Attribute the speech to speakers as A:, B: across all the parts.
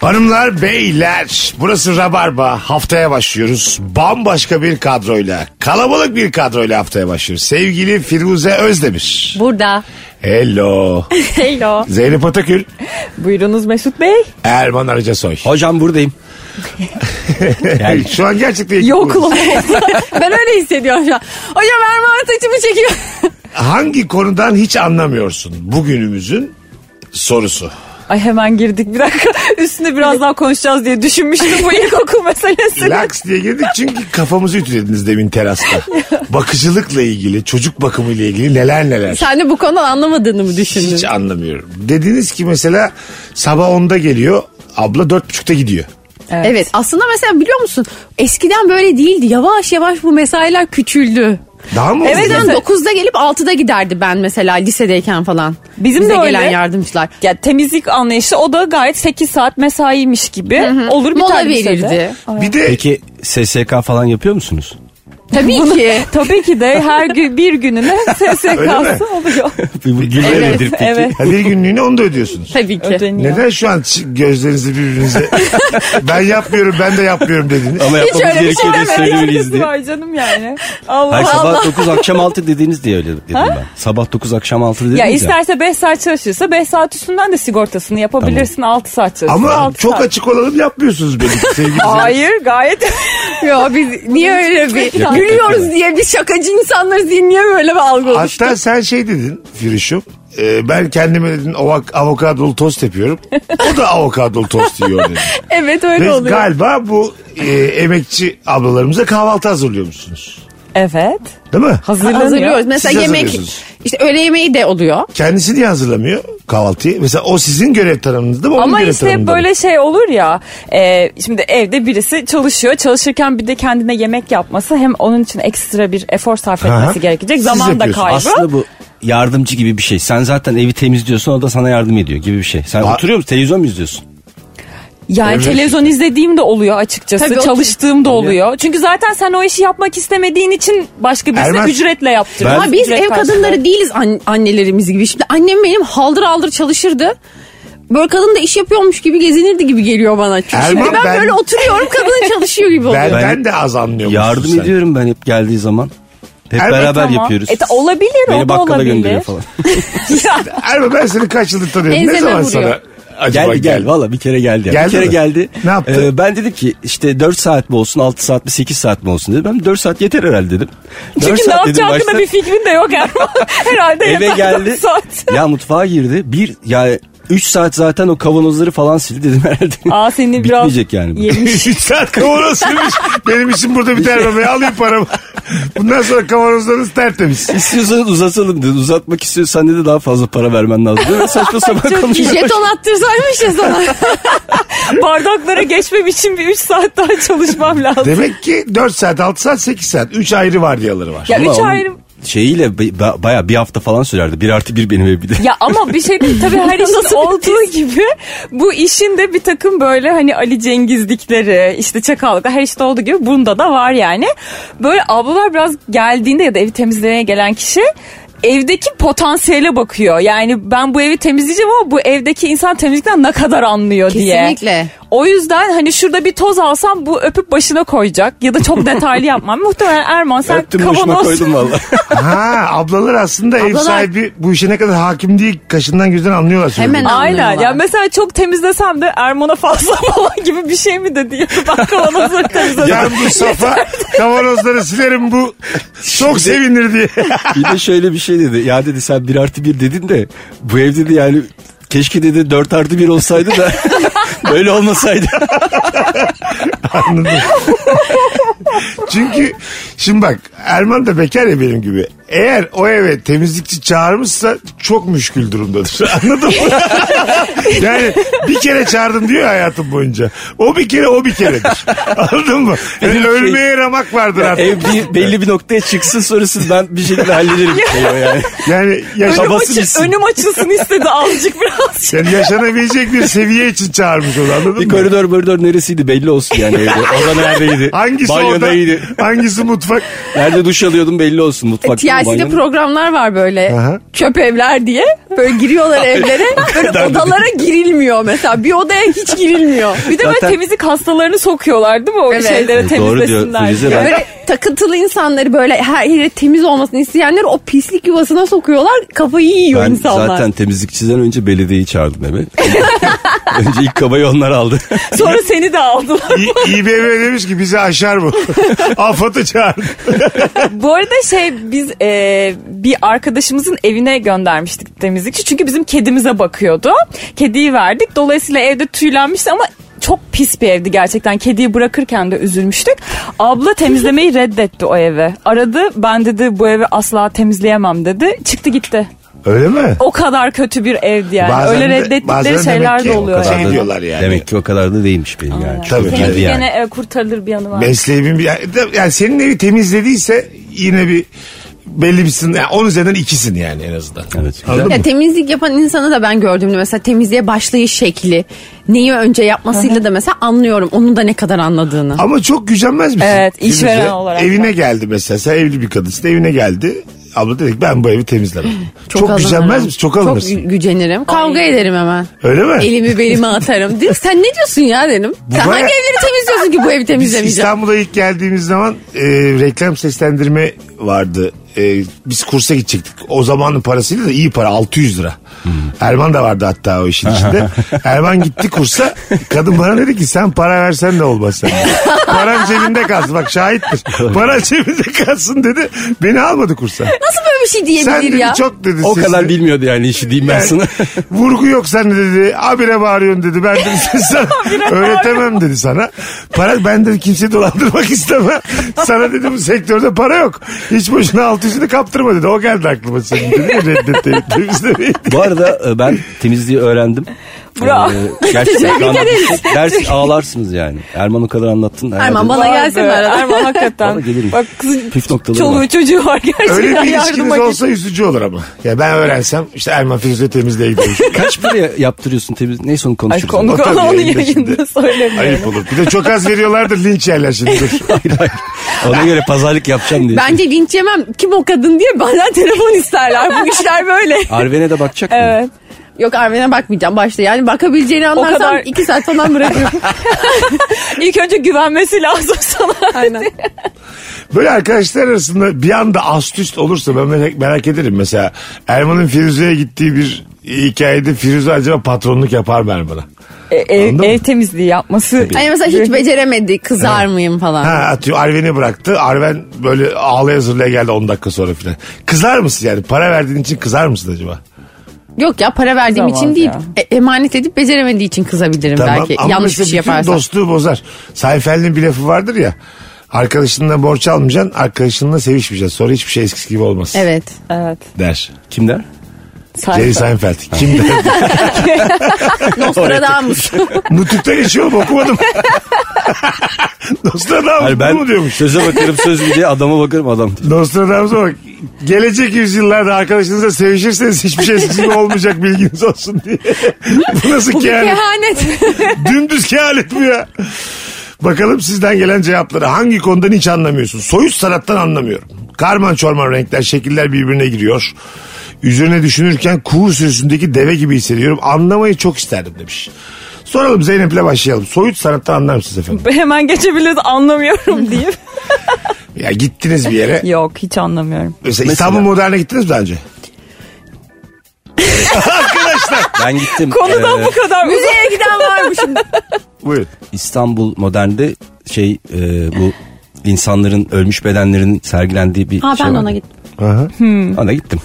A: Hanımlar, beyler burası Rabarba. Haftaya başlıyoruz. Bambaşka bir kadroyla, kalabalık bir kadroyla haftaya başlıyoruz. Sevgili Firuze Özdemir.
B: Burada.
A: Hello.
B: Hello.
A: Zeynep Atakül,
B: Buyurunuz Mesut Bey.
A: Erman Arıcasoy.
C: Hocam buradayım.
A: Şu an gerçekten ekip burası.
B: Yoklum. ben öyle hissediyorum şu an. Hocam Erman saçımı çekiyor.
A: Hangi konudan hiç anlamıyorsun bugünümüzün sorusu.
B: Ay hemen girdik bir dakika. Üstüne biraz daha konuşacağız diye düşünmüştüm bu ilkokul meselesini.
A: Laks diye girdik çünkü kafamızı ütülediniz demin terasta. Bakıcılıkla ilgili, çocuk bakımıyla ilgili neler neler.
B: Sen de bu konudan anlamadığını mı düşündün?
A: Hiç anlamıyorum. Dediniz ki mesela sabah 10'da geliyor. Abla 4.30'da gidiyor.
B: Evet. Aslında mesela biliyor musun? Eskiden böyle değildi. Yavaş yavaş bu mesailer küçüldü.
A: Daha mı
D: Evet,
A: hızlı?
D: Mesela-
B: Eskiden 9'da gelip 6'da giderdi ben mesela lisedeyken falan.
D: Bizim
B: Bize
D: de öyle.
B: gelen yardımcılar.
D: Ya temizlik anlayışı o da gayet 8 saat mesaiymiş gibi olur bir
B: Mola
D: tane lisede.
B: verirdi.
A: Bir de
C: Peki SSK falan yapıyor musunuz?
B: Tabii ki.
D: Tabii ki de her gün bir gününe SSK'sı oluyor.
C: Gülle nedir peki?
D: evet.
A: ha, bir günlüğüne onu da ödüyorsunuz.
B: Tabii ki.
D: Ödeniyor.
A: Neden şu an çi- gözlerinizi birbirinize ben yapmıyorum ben de yapmıyorum dediniz.
C: Ama
B: Hiç
C: yapmamız
B: öyle bir şey
C: gerekiyor diye
D: Ne
C: söylemeliyiz
D: alakası
C: diye.
D: var canım yani. Allah
C: Hayır
D: Allah.
C: sabah 9 akşam 6 dediniz diye öyle dedim ben. Sabah 9 akşam 6 dediniz
D: Ya
C: ya.
D: isterse 5 saat çalışırsa 5 saat üstünden de sigortasını yapabilirsin 6 saat çalışırsa.
A: Ama
D: altı
A: çok
D: saat.
A: açık olalım yapmıyorsunuz benim sevgili izleyiciler.
D: Hayır gayet.
B: Yo biz niye öyle bir
C: Yakın
B: gülüyoruz diye bir şakacı insanlarız diye niye böyle bir algı oluştu?
A: Hatta sen şey dedin Firuş'um. e, ben kendime dedin avak- avokadolu tost yapıyorum. O da avokadolu tost yiyor dedi.
B: Evet
A: Ve
B: öyle oluyor.
A: galiba bu e, emekçi ablalarımıza kahvaltı hazırlıyormuşsunuz.
D: evet.
A: Değil mi?
D: Hazırlanıyor.
B: Hazırlıyoruz.
A: Siz
B: Mesela yemek
A: hazırlıyorsunuz.
B: işte öğle yemeği de oluyor.
A: Kendisi niye hazırlamıyor kahvaltıyı? Mesela o sizin görev tanımınız değil mi? Onun
D: Ama
A: görev
D: işte
A: tanımında mı?
D: böyle şey olur ya e, şimdi evde birisi çalışıyor çalışırken bir de kendine yemek yapması hem onun için ekstra bir efor sarf
A: Aha.
D: etmesi gerekecek
A: Siz
D: zaman da
A: yapıyorsunuz.
D: kaybı.
C: Aslında bu yardımcı gibi bir şey. Sen zaten evi temizliyorsun o da sana yardım ediyor gibi bir şey. Sen
A: Aa.
C: oturuyor musun televizyon mu izliyorsun?
D: Yani
A: Evet.
D: televizyon izlediğim de oluyor açıkçası.
B: Tabii o-
D: Çalıştığım da oluyor. Çünkü zaten sen o işi yapmak istemediğin için başka birisi
A: Ermez.
D: ücretle yaptırıyor.
C: Ben-
B: Ama biz
D: Ücret
B: ev
D: karşılığı.
B: kadınları değiliz an- annelerimiz gibi. Şimdi annem benim haldır haldır çalışırdı. Böyle kadın da iş yapıyormuş gibi gezinirdi gibi geliyor bana. Çünkü
A: Erman,
B: şimdi ben,
A: ben-
B: böyle oturuyorum kadın çalışıyor gibi
D: şey
B: oluyor.
A: Benden
C: Ben-
A: de az anlıyormuşsun
C: Yardım
A: sen.
C: ediyorum ben hep geldiği zaman. Hep
A: Evet,
C: beraber
D: Tamam.
C: yapıyoruz.
D: E, ta- olabilir o
C: Beni
D: da
C: bakkala
D: olabilir.
C: gönderiyor falan.
A: Erman ben seni kaç yıldır tanıyorum. ne
B: Enzeme
A: zaman
B: vuruyor.
A: sana acaba
C: Geldi
A: geldi?
C: gel valla bir kere geldi. ya.
A: Geldi
C: bir kere
A: mi?
C: geldi.
A: Ne yaptı?
C: Ee, ben dedim ki işte 4 saat mi olsun 6 saat mi 8 saat mi olsun dedim. Ben 4 saat yeter herhalde dedim. Dört
D: Çünkü ne
C: saat
D: yapacağı
C: dedim
D: hakkında
C: başta.
D: bir fikrin de yok Erman. Herhalde
C: Eve
D: yeter
C: geldi.
D: dört saat.
C: ya mutfağa girdi. Bir ya 3 saat zaten o kavanozları falan sildi dedim herhalde.
D: Aa seni biraz
C: Bitmeyecek yani. bu.
D: yemiş.
A: 3 saat kavanoz sürmüş. Benim için burada biter baba. Alayım paramı. Bundan sonra kavanozlarınız tertemiz.
C: İstiyorsanız uzatalım dedi. Uzatmak istiyorsan dedi daha fazla para vermen lazım. Böyle saçma sapan konuşuyor.
B: Jeton attırsaymış ya sana.
D: Bardaklara geçmem için bir 3 saat daha çalışmam lazım.
A: Demek ki 4 saat, 6 saat, 8 saat. 3 ayrı vardiyaları var.
D: Ya
C: Ama
D: 3
C: onun
D: ayrı
C: Şeyiyle ba- baya bir hafta falan sürerdi. Bir artı bir benim evimde.
D: Ya ama bir şey değil tabii her işin olduğu gibi bu işin de bir takım böyle hani Ali Cengizlikleri işte çakallıklar her işte olduğu gibi bunda da var yani. Böyle ablalar biraz geldiğinde ya da evi temizlemeye gelen kişi evdeki potansiyele bakıyor. Yani ben bu evi temizleyeceğim ama bu evdeki insan temizlikten ne kadar anlıyor diye.
B: Kesinlikle.
D: O yüzden hani şurada bir toz alsam bu öpüp başına koyacak ya da çok detaylı yapmam. Muhtemelen Erman sen
C: Öptüm başıma
D: kavanoz
C: koydum valla.
A: ha, ablalar aslında ev
B: Ablalar-
A: sahibi bu işe ne kadar hakim değil. Kaşından gözden anlıyorlar. söylediğini.
B: Hemen
D: Aynen.
B: anlıyorlar.
D: Ya mesela çok temizlesem de Erman'a fazla falan gibi bir şey mi dedi? Ya da ben kavanozları temizledim.
A: Ben bu safa kavanozları silerim bu. Çok sevinir diye.
C: bir de şöyle bir şey dedi. Ya dedi sen bir artı bir dedin de bu ev dedi yani keşke dedi dört artı bir olsaydı da böyle olmasaydı.
A: Anladım. Çünkü şimdi bak Erman da bekar ya benim gibi. eğer o eve temizlikçi çağırmışsa çok müşkül durumdadır. Anladın mı? yani bir kere çağırdım diyor ya hayatım boyunca. O bir kere o bir keredir. Anladın mı? Yani
C: Benim şey-
A: ölmeye ramak vardır artık.
C: Ev bir- belli bir noktaya çıksın sonrasını ben bir şekilde hallederim. diyor yani.
A: Yani yaşa-
D: Önüm,
C: Babası
D: açı-
C: bilsin.
D: önüm açılsın istedi azıcık biraz.
A: yani yaşanabilecek bir seviye için çağırmış onu anladın
C: Bir
A: mı?
C: koridor koridor neresiydi belli olsun yani evde. Oda neredeydi?
A: Hangisi
C: Banyo
A: orada?
C: neydi?
A: Hangisi mutfak?
C: Nerede duş alıyordum belli olsun mutfakta mı
B: TLC'de
C: banyoda mı?
B: programlar var böyle
A: Aha.
B: çöp evler diye. Böyle giriyorlar evlere. Böyle odalara girilmiyor mesela. Bir odaya hiç girilmiyor.
D: Bir de böyle
C: Zaten-
D: temizlik hastalarını sokuyorlar değil mi o
B: Evet.
D: şeylere
C: Evet, doğru diyor
D: temizlesinler.
C: Firuze,
D: diye.
C: ben-
B: Böyle takıntılı insanları böyle her yeri temiz olmasını isteyenler o pislik yuvasına sokuyorlar. Kafayı yiyor
C: Ben
B: insanlar.
C: zaten temizlikçiden önce belediyeyi çağırdım eve. önce ilk kabayı onlar aldı.
D: Sonra seni de aldılar.
A: İ- İBB demiş ki bizi aşar bu. Afat'ı çağırdı.
D: Bu arada şey biz e, bir arkadaşımızın evine göndermiştik temizlikçi. Çünkü bizim kedimize bakıyordu. Kediyi verdik. Dolayısıyla evde tüylenmişti ama çok pis bir evdi gerçekten. Kediyi bırakırken de üzülmüştük. Abla temizlemeyi reddetti o evi. Aradı ben dedi bu evi asla temizleyemem dedi. Çıktı gitti.
A: Öyle mi?
D: O kadar kötü bir evdi yani.
A: Bazen
D: Öyle
A: de- bazen
D: reddettikleri
A: demek
D: şeyler
A: ki
D: de
A: o
D: oluyor.
A: kadar
D: yani.
A: da- Şey diyorlar yani.
C: Demek ki o kadar da değilmiş benim yani.
A: Tabii.
C: Çok
A: Tabii.
C: iyiydi yani.
D: Gene e, kurtarılır bir yanı var.
A: Mesleğimin bir... Yani senin evi temizlediyse yine bir belli bir sınır. Yani 10 üzerinden ikisin yani en azından.
C: Evet.
A: Anladın
B: Ya
A: mı?
B: temizlik yapan insanı da ben gördüğümde mesela temizliğe başlayış şekli, neyi önce yapmasıyla da mesela anlıyorum onun da ne kadar anladığını.
A: Ama çok gücenmez misin?
D: Evet, işveren
A: Firuze?
D: olarak.
A: Evine geldi mesela. Sen evli bir kadınsın. Evine geldi. Abla dedi ki ben bu evi temizlemem. çok
B: alınırım.
A: gücenmez misin? Çok alınırsın.
B: Çok gü- gücenirim. Kavga ederim hemen.
A: Öyle mi?
B: Elimi belime atarım. Dedim, sen ne diyorsun ya dedim. Sen
A: baya-
B: hangi evleri temizliyorsun ki bu evi
A: Biz
B: temizlemeyeceğim?
A: İstanbul'a ilk geldiğimiz zaman e, reklam seslendirme vardı. E, biz kursa gidecektik. O zamanın parasıyla da iyi para 600 lira.
B: Hmm.
A: Erman da vardı hatta o işin içinde. Erman gitti kursa kadın bana dedi ki sen para versen de olmaz sen. Param cebinde kalsın bak şahittir. Para cebinde kalsın dedi. Beni almadı kursa.
B: Nasıl böyle bir şey
A: Sen
B: diyebilir
A: dedi
B: ya?
A: çok dedi
C: O
A: sesli.
C: kadar bilmiyordu yani işi diyeyim ben
A: Yani
C: sana.
A: Vurgu yok sen dedi. Abire bağırıyorsun dedi. Ben dedi sen- sana öğretemem dedi sana. Para ben dedi kimseyi dolandırmak istemem. Sana dedi bu sektörde para yok. Hiç boşuna alt üstünü kaptırma dedi. O geldi aklıma senin dedi. Reddetti. temizlemeyi.
C: Bu arada e, ben temizliği öğrendim.
D: Bravo.
C: Ee, gerçekten anlatmışsın. Ders ağlarsınız yani. Erman o kadar anlattın.
B: Erman bana
D: Vay
B: gelsin
D: be,
B: arada.
D: Erman hakikaten.
C: Bana gelirim.
D: Bak kızın
C: Püf noktaları
D: çoluğu
C: var.
D: çocuğu var gerçekten.
A: Öyle bir ilişkiniz
D: yardıma git.
A: olsa üzücü olur ama. Ya ben öğrensem işte Erman Firuze temizliğe gidiyor.
C: Kaç paraya yaptırıyorsun temiz? Neyse onu
D: Ay,
C: konuşuruz.
D: konu
A: O tabii
D: konu onu
A: yayında şimdi.
D: yayında söylemiyorum.
A: Ayıp olur. Bir de çok az veriyorlardır linç yerler şimdi. Dur.
C: Hayır, hayır. Ona göre pazarlık yapacağım diye.
B: Bence linç yemem. Kim o kadın diye benden telefon isterler. Bu işler böyle.
C: Arven'e de bakacak mı?
D: Evet.
B: Yok Arven'e bakmayacağım başta. Yani bakabileceğini anlarsam
D: kadar-
B: iki saat falan bırakıyorum.
D: İlk önce güvenmesi lazım sana.
B: Aynen.
A: Böyle arkadaşlar arasında bir anda ast üst olursa ben merak, merak ederim. Mesela Erman'ın Firuze'ye gittiği bir hikayede Firuze acaba patronluk yapar mı Erman'a?
D: E, ev,
A: Anladın mı?
D: ev temizliği yapması.
B: Hani mesela hiç beceremedi. Kızar mıyım falan.
A: Ha atıyor Arven'i bıraktı. Arven böyle ağlaya zırlaya geldi 10 dakika sonra filan. Kızar mısın yani? Para verdiğin için kızar mısın acaba?
B: Yok ya para verdiğim
D: Kızamaz
B: için değil.
D: ya.
B: E- emanet edip beceremediğim için kızabilirim belki. Yanlış bir
A: mesela
B: şey
A: bütün
B: yaparsam.
A: dostluğu bozar. Seinfeld'in bir lafı vardır ya. Arkadaşınla borç almayacaksın, arkadaşınla sevişmeyeceksin. Sonra hiçbir şey eskisi gibi olmaz
B: Evet.
D: Evet.
A: der.
C: Kim der?
A: Jerry
D: Sayfa.
A: Seinfeld. Kim der?
B: Nostradamus.
A: Nutuk'ta geçiyorum okumadım. Nostradamus
C: Hayır,
A: ben...
C: ben
A: mu diyormuş?
C: söze bakarım söz mü diye adama bakarım adam.
A: Nostradamus'a bak. Gelecek yüzyıllarda arkadaşınızla sevişirseniz hiçbir şey eskisi gibi olmayacak bilginiz olsun diye. bu nasıl kehanet?
B: Kehanet.
A: Dümdüz kehanet bu ya. Bakalım sizden gelen cevapları hangi konudan hiç anlamıyorsun? Soyut sanattan anlamıyorum. Karman çorman renkler, şekiller birbirine giriyor. Üzerine düşünürken kuğu sürüsündeki deve gibi hissediyorum. Anlamayı çok isterdim demiş. Soralım Zeynep'le başlayalım. Soyut sanattan anlar mısınız efendim?
D: Hemen geçebiliriz anlamıyorum diye.
A: Ya gittiniz bir yere.
D: Yok hiç anlamıyorum.
A: Mesela İstanbul Modern'e gittiniz mi daha önce? Arkadaşlar
C: Ben gittim.
D: Konudan
C: Ee,
D: bu kadar uzak.
B: Müzeye giden var mı şimdi?
A: buyurun.
C: İstanbul Modern'de şey e, bu insanların ölmüş bedenlerinin sergilendiği bir
B: Aa,
C: şey
B: ben de
C: var.
B: ona gittim.
C: Ona gittim.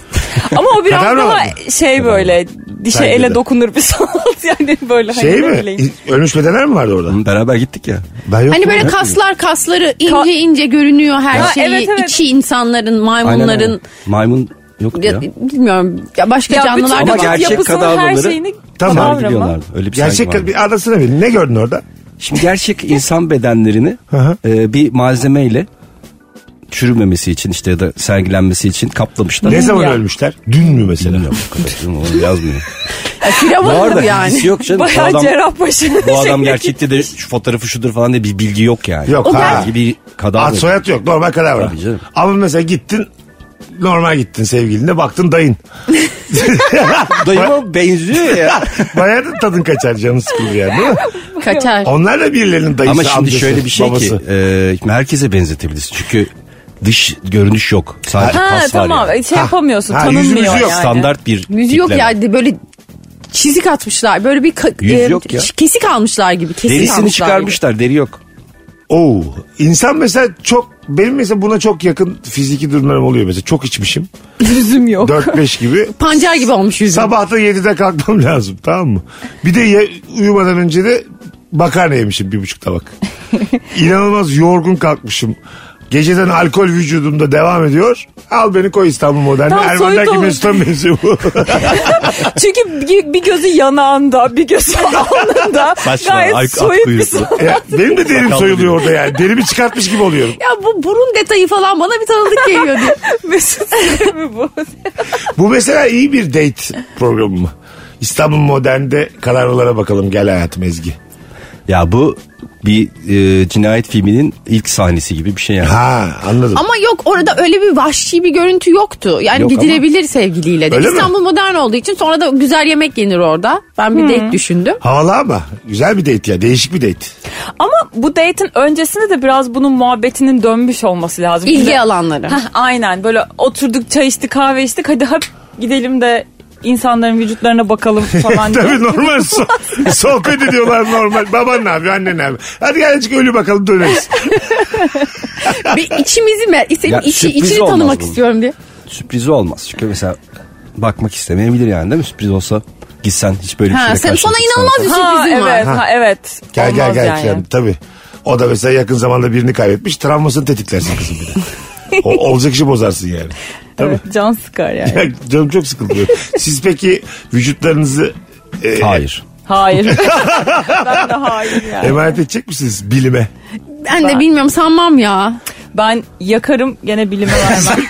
D: Ama o biraz
A: Kadavra
D: daha
A: var mı?
D: şey böyle dişe
A: Bence
D: ele
A: de.
D: dokunur bir sanat yani böyle
A: Şey
D: hani ne
A: mi?
D: bileyim.
A: Ölmüş bedenler mi vardı orada?
C: Beraber gittik ya.
A: Ben yok.
B: Hani böyle kaslar kasları ince ince görünüyor her
D: Ha,
B: şeyi.
D: evet, evet.
B: İçi insanların,
C: Aynen öyle.
B: maymunların.
C: Maymun yoktu
B: Ya,
C: ya.
B: bilmiyorum. Ya başka
D: Ya şey bütün
B: canlılar da
C: Ama
B: var.
C: gerçek
D: yapısının her
C: kadavraları-
D: şeyini
A: Tamam.
C: Sergi
D: kadavra mı?
C: diyorlardı. Öyle bir sergi
A: Gerçek
C: vardı.
A: bir adasına bir ne gördün orada?
C: Şimdi gerçek insan bedenlerini
A: Hı hı.
C: e, bir malzemeyle çürümemesi için işte ya da sergilenmesi için kaplamışlar.
A: Ne zaman
D: ya.
A: ölmüşler? Dün mü mesela?
C: Bilmiyorum bu kadar. canım, Onu yazmıyor.
B: Firavundur
C: Var da
B: yani.
C: ilgisi yok canım. Bu
D: Bayağı Şey-
C: adam-
D: cerrahpaşı.
C: Bu adam gerçekte de şu fotoğrafı şudur falan diye bir bilgi yok yani.
A: Yok, O ha. gerçek-
C: Bilgi bir kadar.
A: Ad soyad yok normal kadavra.
C: Tabii canım.
A: Ama mesela gittin normal gittin sevgiline baktın dayın.
C: Dayıma benziyor ya.
A: Bayağı da tadın kaçar canın sıkılır yani değil mi?
B: Kaçar.
A: Onlar da birilerinin dayısı
C: Ama şimdi
A: amcası,
C: şöyle bir şey
A: babası.
C: ki e, herkese benzetebilirsin. Çünkü dış görünüş yok. Sadece
D: Ha
C: kas var
D: tamam
C: yani.
D: şey
A: Ha,
D: yapamıyorsun
A: ha, yüzü
D: tanınmıyor
A: müzü yok.
D: yani.
C: Standart bir
B: Müziği yok
C: tipleme.
B: yani böyle çizik atmışlar. Böyle bir ka-
C: Yüz
B: e,
C: yok ya.
B: kesik almışlar gibi. Kesik
C: Derisini
B: almışlar
C: çıkarmışlar deri yok.
A: Oo. İnsan mesela çok benim mesela buna çok yakın fiziki durumlarım oluyor mesela. Çok içmişim.
D: Yüzüm yok.
A: 4-5 gibi.
B: gibi. Pancar gibi olmuş yüzü.
A: Sabah da 7'de kalkmam lazım tamam mı? Bir de ye- uyumadan önce de makarna yemişim bir buçuk tabak. İnanılmaz yorgun kalkmışım. Geceden alkol vücudumda devam ediyor. Al beni koy İstanbul Modern'e.
D: Tam soyut
A: Erman'daki
D: olur.
A: Mesut'a benziyor bu.
D: Çünkü bir, bir gözü yanağında, bir gözü alnında.
C: Saçma,
D: Gayet
C: ay- at
D: soyut bir
C: kuyruğu.
D: soru.
A: Ya benim de derim
C: Bakalım
A: soyuluyor
C: dedim.
A: orada yani. Derimi çıkartmış gibi oluyorum.
B: Ya bu burun detayı falan bana bir tanıdık geliyor diye.
D: Mesut Süre mi bu?
A: Bu mesela iyi bir date programı mı? İstanbul Modern'de kararlılara bakalım gel hayatım Ezgi.
C: Ya bu bir e, cinayet filminin ilk sahnesi gibi bir şey yani.
A: Ha anladım.
B: Ama yok orada öyle bir vahşi bir görüntü yoktu. Yani
C: Yok ama-
B: gidilebilir sevgiliyle de.
A: Öyle mi?
B: İstanbul modern olduğu için sonra da güzel yemek yenir orada. Ben bir date düşündüm.
A: Havalı ama güzel bir date ya değişik bir date.
D: Ama bu date'in öncesinde de biraz bunun muhabbetinin dönmüş olması lazım.
B: İlgi
D: Şimdi-
B: alanları.
D: Heh, aynen böyle oturduk çay içtik kahve içtik hadi hop gidelim de insanların vücutlarına bakalım falan diye.
A: Tabii normal so- sohbet ediyorlar normal. Baban ne yapıyor annen ne yapıyor. Hadi gel azıcık ölü bakalım döneriz.
B: bir içimizi mer senin
C: Ya
B: içi,
C: sürpriz
B: içini
C: olmaz
B: tanımak
C: bunun.
B: istiyorum diye.
C: Sürprizi olmaz. Çünkü mesela bakmak istemeyebilir yani değil mi? Sürpriz olsa gitsen hiç böyle bir
B: Ha,
C: şeyle
B: sen, sana
C: karşılaşırsan-
B: inanılmaz bir
D: Ha
B: sürprizim
D: evet
B: var.
D: ha evet.
A: Gel gel
D: Olmaz
A: gel.
D: yani.
A: yani, tabii. O da mesela yakın zamanda birini kaybetmiş. Travmasını tetiklersin kızım bir de. O, olacak işi bozarsın yani.
D: Evet, can sıkar yani.
A: Ya, canım çok sıkılıyor. Siz peki vücutlarınızı e,
C: Hayır.
D: hayır. ben de hayır
C: E,
D: yani.
A: emanet edecek misiniz bilime?
B: Ben de bilmiyorum sanmam ya.
D: Ben yakarım gene bilime vermem.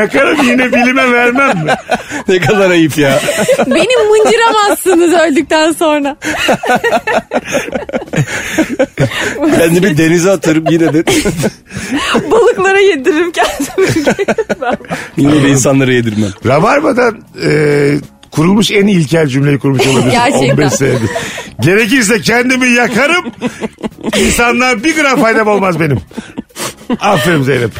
A: Yakarım yine bilime vermem mi?
C: ne kadar ayıp ya.
B: Beni mıncıramazsınız öldükten sonra.
C: Kendimi denize atarım yine de.
D: Balıklara yediririm kendimi. Ben-
C: yine de insanlara yedirmem.
A: Rabarba'dan e, kurulmuş en ilkel cümleyi kurmuş olabilir.
B: Gerçekten.
A: 15 senedir. Gerekirse kendimi yakarım. İnsanlar bir gram faydam olmaz benim. Aferin Zeynep.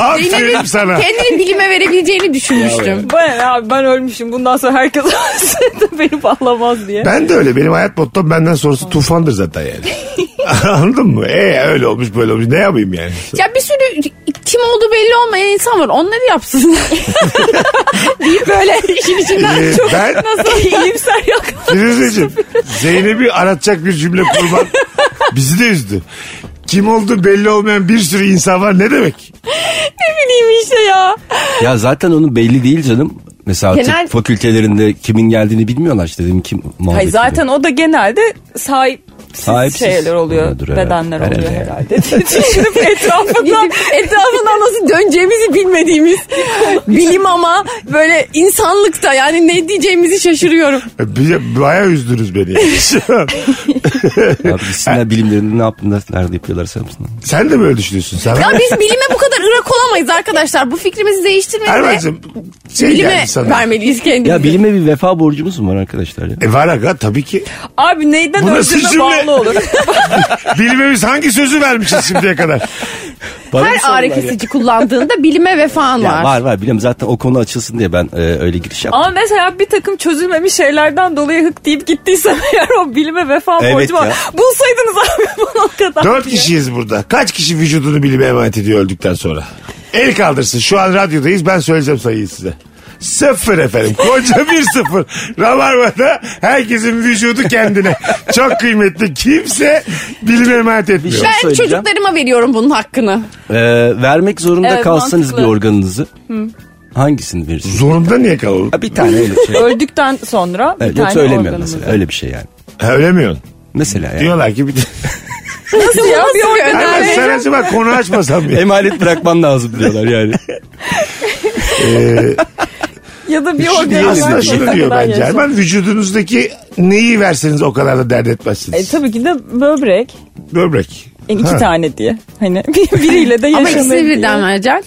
A: Aferin
B: Zeynep'in
A: sana.
B: kendini bilime verebileceğini düşünmüştüm.
D: ben, abi ben ölmüşüm bundan sonra herkes ölsün de beni bağlamaz diye.
A: Ben de öyle. Benim hayat mottom benden sonrası tufandır zaten yani. Anladın mı? E öyle olmuş böyle olmuş. Ne yapayım yani?
B: Ya bir sürü kim olduğu belli olmayan insan var. Onları yapsın. Deyip böyle işin içinden
A: Ee,
B: çok
A: ben
B: nasıl iyimser yok.
A: Firuzeciğim Zeynep'i aratacak bir cümle kurban bizi de üzdü. Kim olduğu belli olmayan bir sürü insan var ne demek?
D: Bileyim işte
B: şey
D: ya.
C: Ya zaten onun belli değil canım. Mesela
B: Genel-
C: tıp fakültelerinde kimin geldiğini bilmiyorlar işte dedim kim muhabbeti.
D: Hayır zaten o da genelde sahip
C: Sahipsiz
D: şeyler oluyor,
C: oluyordur herhalde.
D: bedenler oluyor
C: Herhalde.
D: herhalde. Düşünüp etrafında
B: etrafından nasıl döneceğimizi bilmediğimiz bilim ama böyle insanlıkta yani ne diyeceğimizi şaşırıyorum.
A: Bir- E, Bayağı üzdünüz beni. yani. Şu an.
C: Abi gitsinler bilimlerinde ne yaptığında nerede yapıyorlarsa yapsınlar.
A: Sen de böyle düşünüyorsun. Sen
B: Ya biz bilime bu kadar ırak olamayız arkadaşlar. Bu fikrimizi değiştirmeyiz de
A: Erman'cığım şey
B: bilime
A: geldi sana.
B: vermeliyiz kendimizi.
C: Ya bilime bir vefa borcumuz mu var arkadaşlar ya?
A: E var aga tabii ki.
D: abi neyden
A: Bu nasıl
D: öldüğüme
A: cümle?
D: bağlı olur.
A: Bilime biz hangi sözü vermişiz şimdiye kadar?
C: Bana mı
B: Her
C: sorular
B: ağrı
C: ya?
B: kesici kullandığında bilime vefan
C: Ya
B: var.
C: var var biliyorum zaten o konu açılsın diye ben e, öyle giriş yaptım.
D: Ama mesela bir takım çözülmemiş şeylerden dolayı hık deyip gittiysem eğer o bilime vefa
C: Evet
D: borcum var.
C: ya.
D: Bulsaydınız abi bana o kadar.
A: Dört
D: diye.
A: kişiyiz burada. Kaç kişi vücudunu bilime emanet ediyor öldükten sonra? El kaldırsın. Şu an radyodayız. Ben söyleyeceğim sayıyı size. Sıfır efendim. Koca bir sıfır. Rabarba'da herkesin vücudu kendine. Çok kıymetli. Kimse bilime emanet etmiyor.
C: şey-
B: Ben
C: söyleyeceğim.
B: çocuklarıma veriyorum bunun hakkını.
C: E, vermek zorunda
D: Evet,
C: kalsanız
D: mantıklı.
C: bir organınızı hangisini verirsiniz?
A: Zorunda niye kalalım?
C: Ha, bir tane öyle bir şey.
D: Öldükten sonra bir
C: Evet,
D: tane
C: yoksa ölemiyorum
D: organımız.
C: mesela öyle bir şey yani.
A: Ha, Ölemiyorsun.
C: Mesela yani.
A: Diyorlar ki bir
D: Nasıl ya? Bir organ
A: Hemen
D: vermeyeceğim.
A: sen acaba konu açmasam ya.
C: Emanet bırakman lazım diyorlar yani.
D: Ya da bir
A: Şu diyor,
D: organ
A: aslında şey şunu diyor bence. Erman vücudunuzdaki neyi verseniz o kadar da dert etmezsiniz.
D: E, tabii ki de böbrek.
A: Böbrek.
D: E, iki
A: Ha.
D: tane diye. Hani bir- biriyle de
B: Ama
D: yaşanır
B: ikisini
D: diye.
B: birden verecek.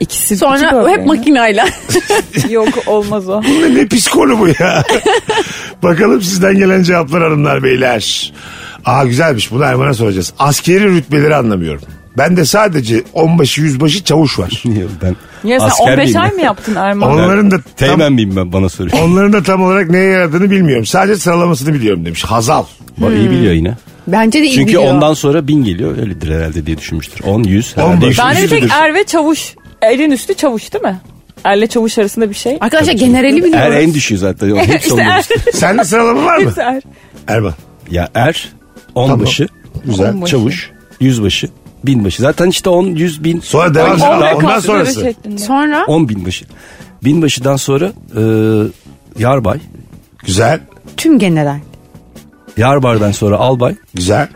D: İkisi iki
B: Sonra
D: böbrek.
B: hep makinayla.
D: Yok olmaz o.
A: Bu ne, ne pis konu bu ya. Bakalım sizden gelen cevaplar hanımlar beyler. Aa güzelmiş bunu Erman'a soracağız. Askeri rütbeleri anlamıyorum. Ben de sadece onbaşı yüzbaşı çavuş var.
C: Niye ben
D: Ya sen
C: asker
D: 15
C: miyim
D: ay
C: ben?
D: mı yaptın Erman?
A: Onların da tam,
C: Teğmen miyim ben bana soruyor.
A: onların da tam olarak neye yaradığını bilmiyorum. Sadece sıralamasını biliyorum demiş. Hazal.
C: Bak, iyi biliyor
D: Hmm.
C: yine.
B: Bence de iyi
C: Çünkü
B: biliyor.
C: ondan sonra bin geliyor öyledir herhalde diye düşünmüştür. 10 100
A: On
C: herhalde.
A: beş.
D: Ben de bir tek
A: Üzücüdür.
D: er ve çavuş. Erin üstü çavuş değil mi? Erle çavuş arasında bir şey.
B: Arkadaşlar generali biliyoruz.
C: Er en düşüyor zaten. Yok, Hepsi
D: İşte
C: on
D: er.
C: beş.
A: Sende sıralama var mı?
D: Hepsi er.
A: Erman.
C: Ya er
A: Tamam.
C: onbaşı,
A: Güzel.
C: güzel çavuş, yüzbaşı, binbaşı. Zaten işte 10 100 bin.
A: Sonra devam
C: Ondan-
A: edelim. Ondan
D: Kalkınları
A: sonrası.
D: şeklinde.
B: Sonra
C: 10 binbaşı. Binbaşıdan sonra e, yarbay.
A: Güzel.
B: tüm general.
C: Yarbardan sonra albay.
A: Güzel.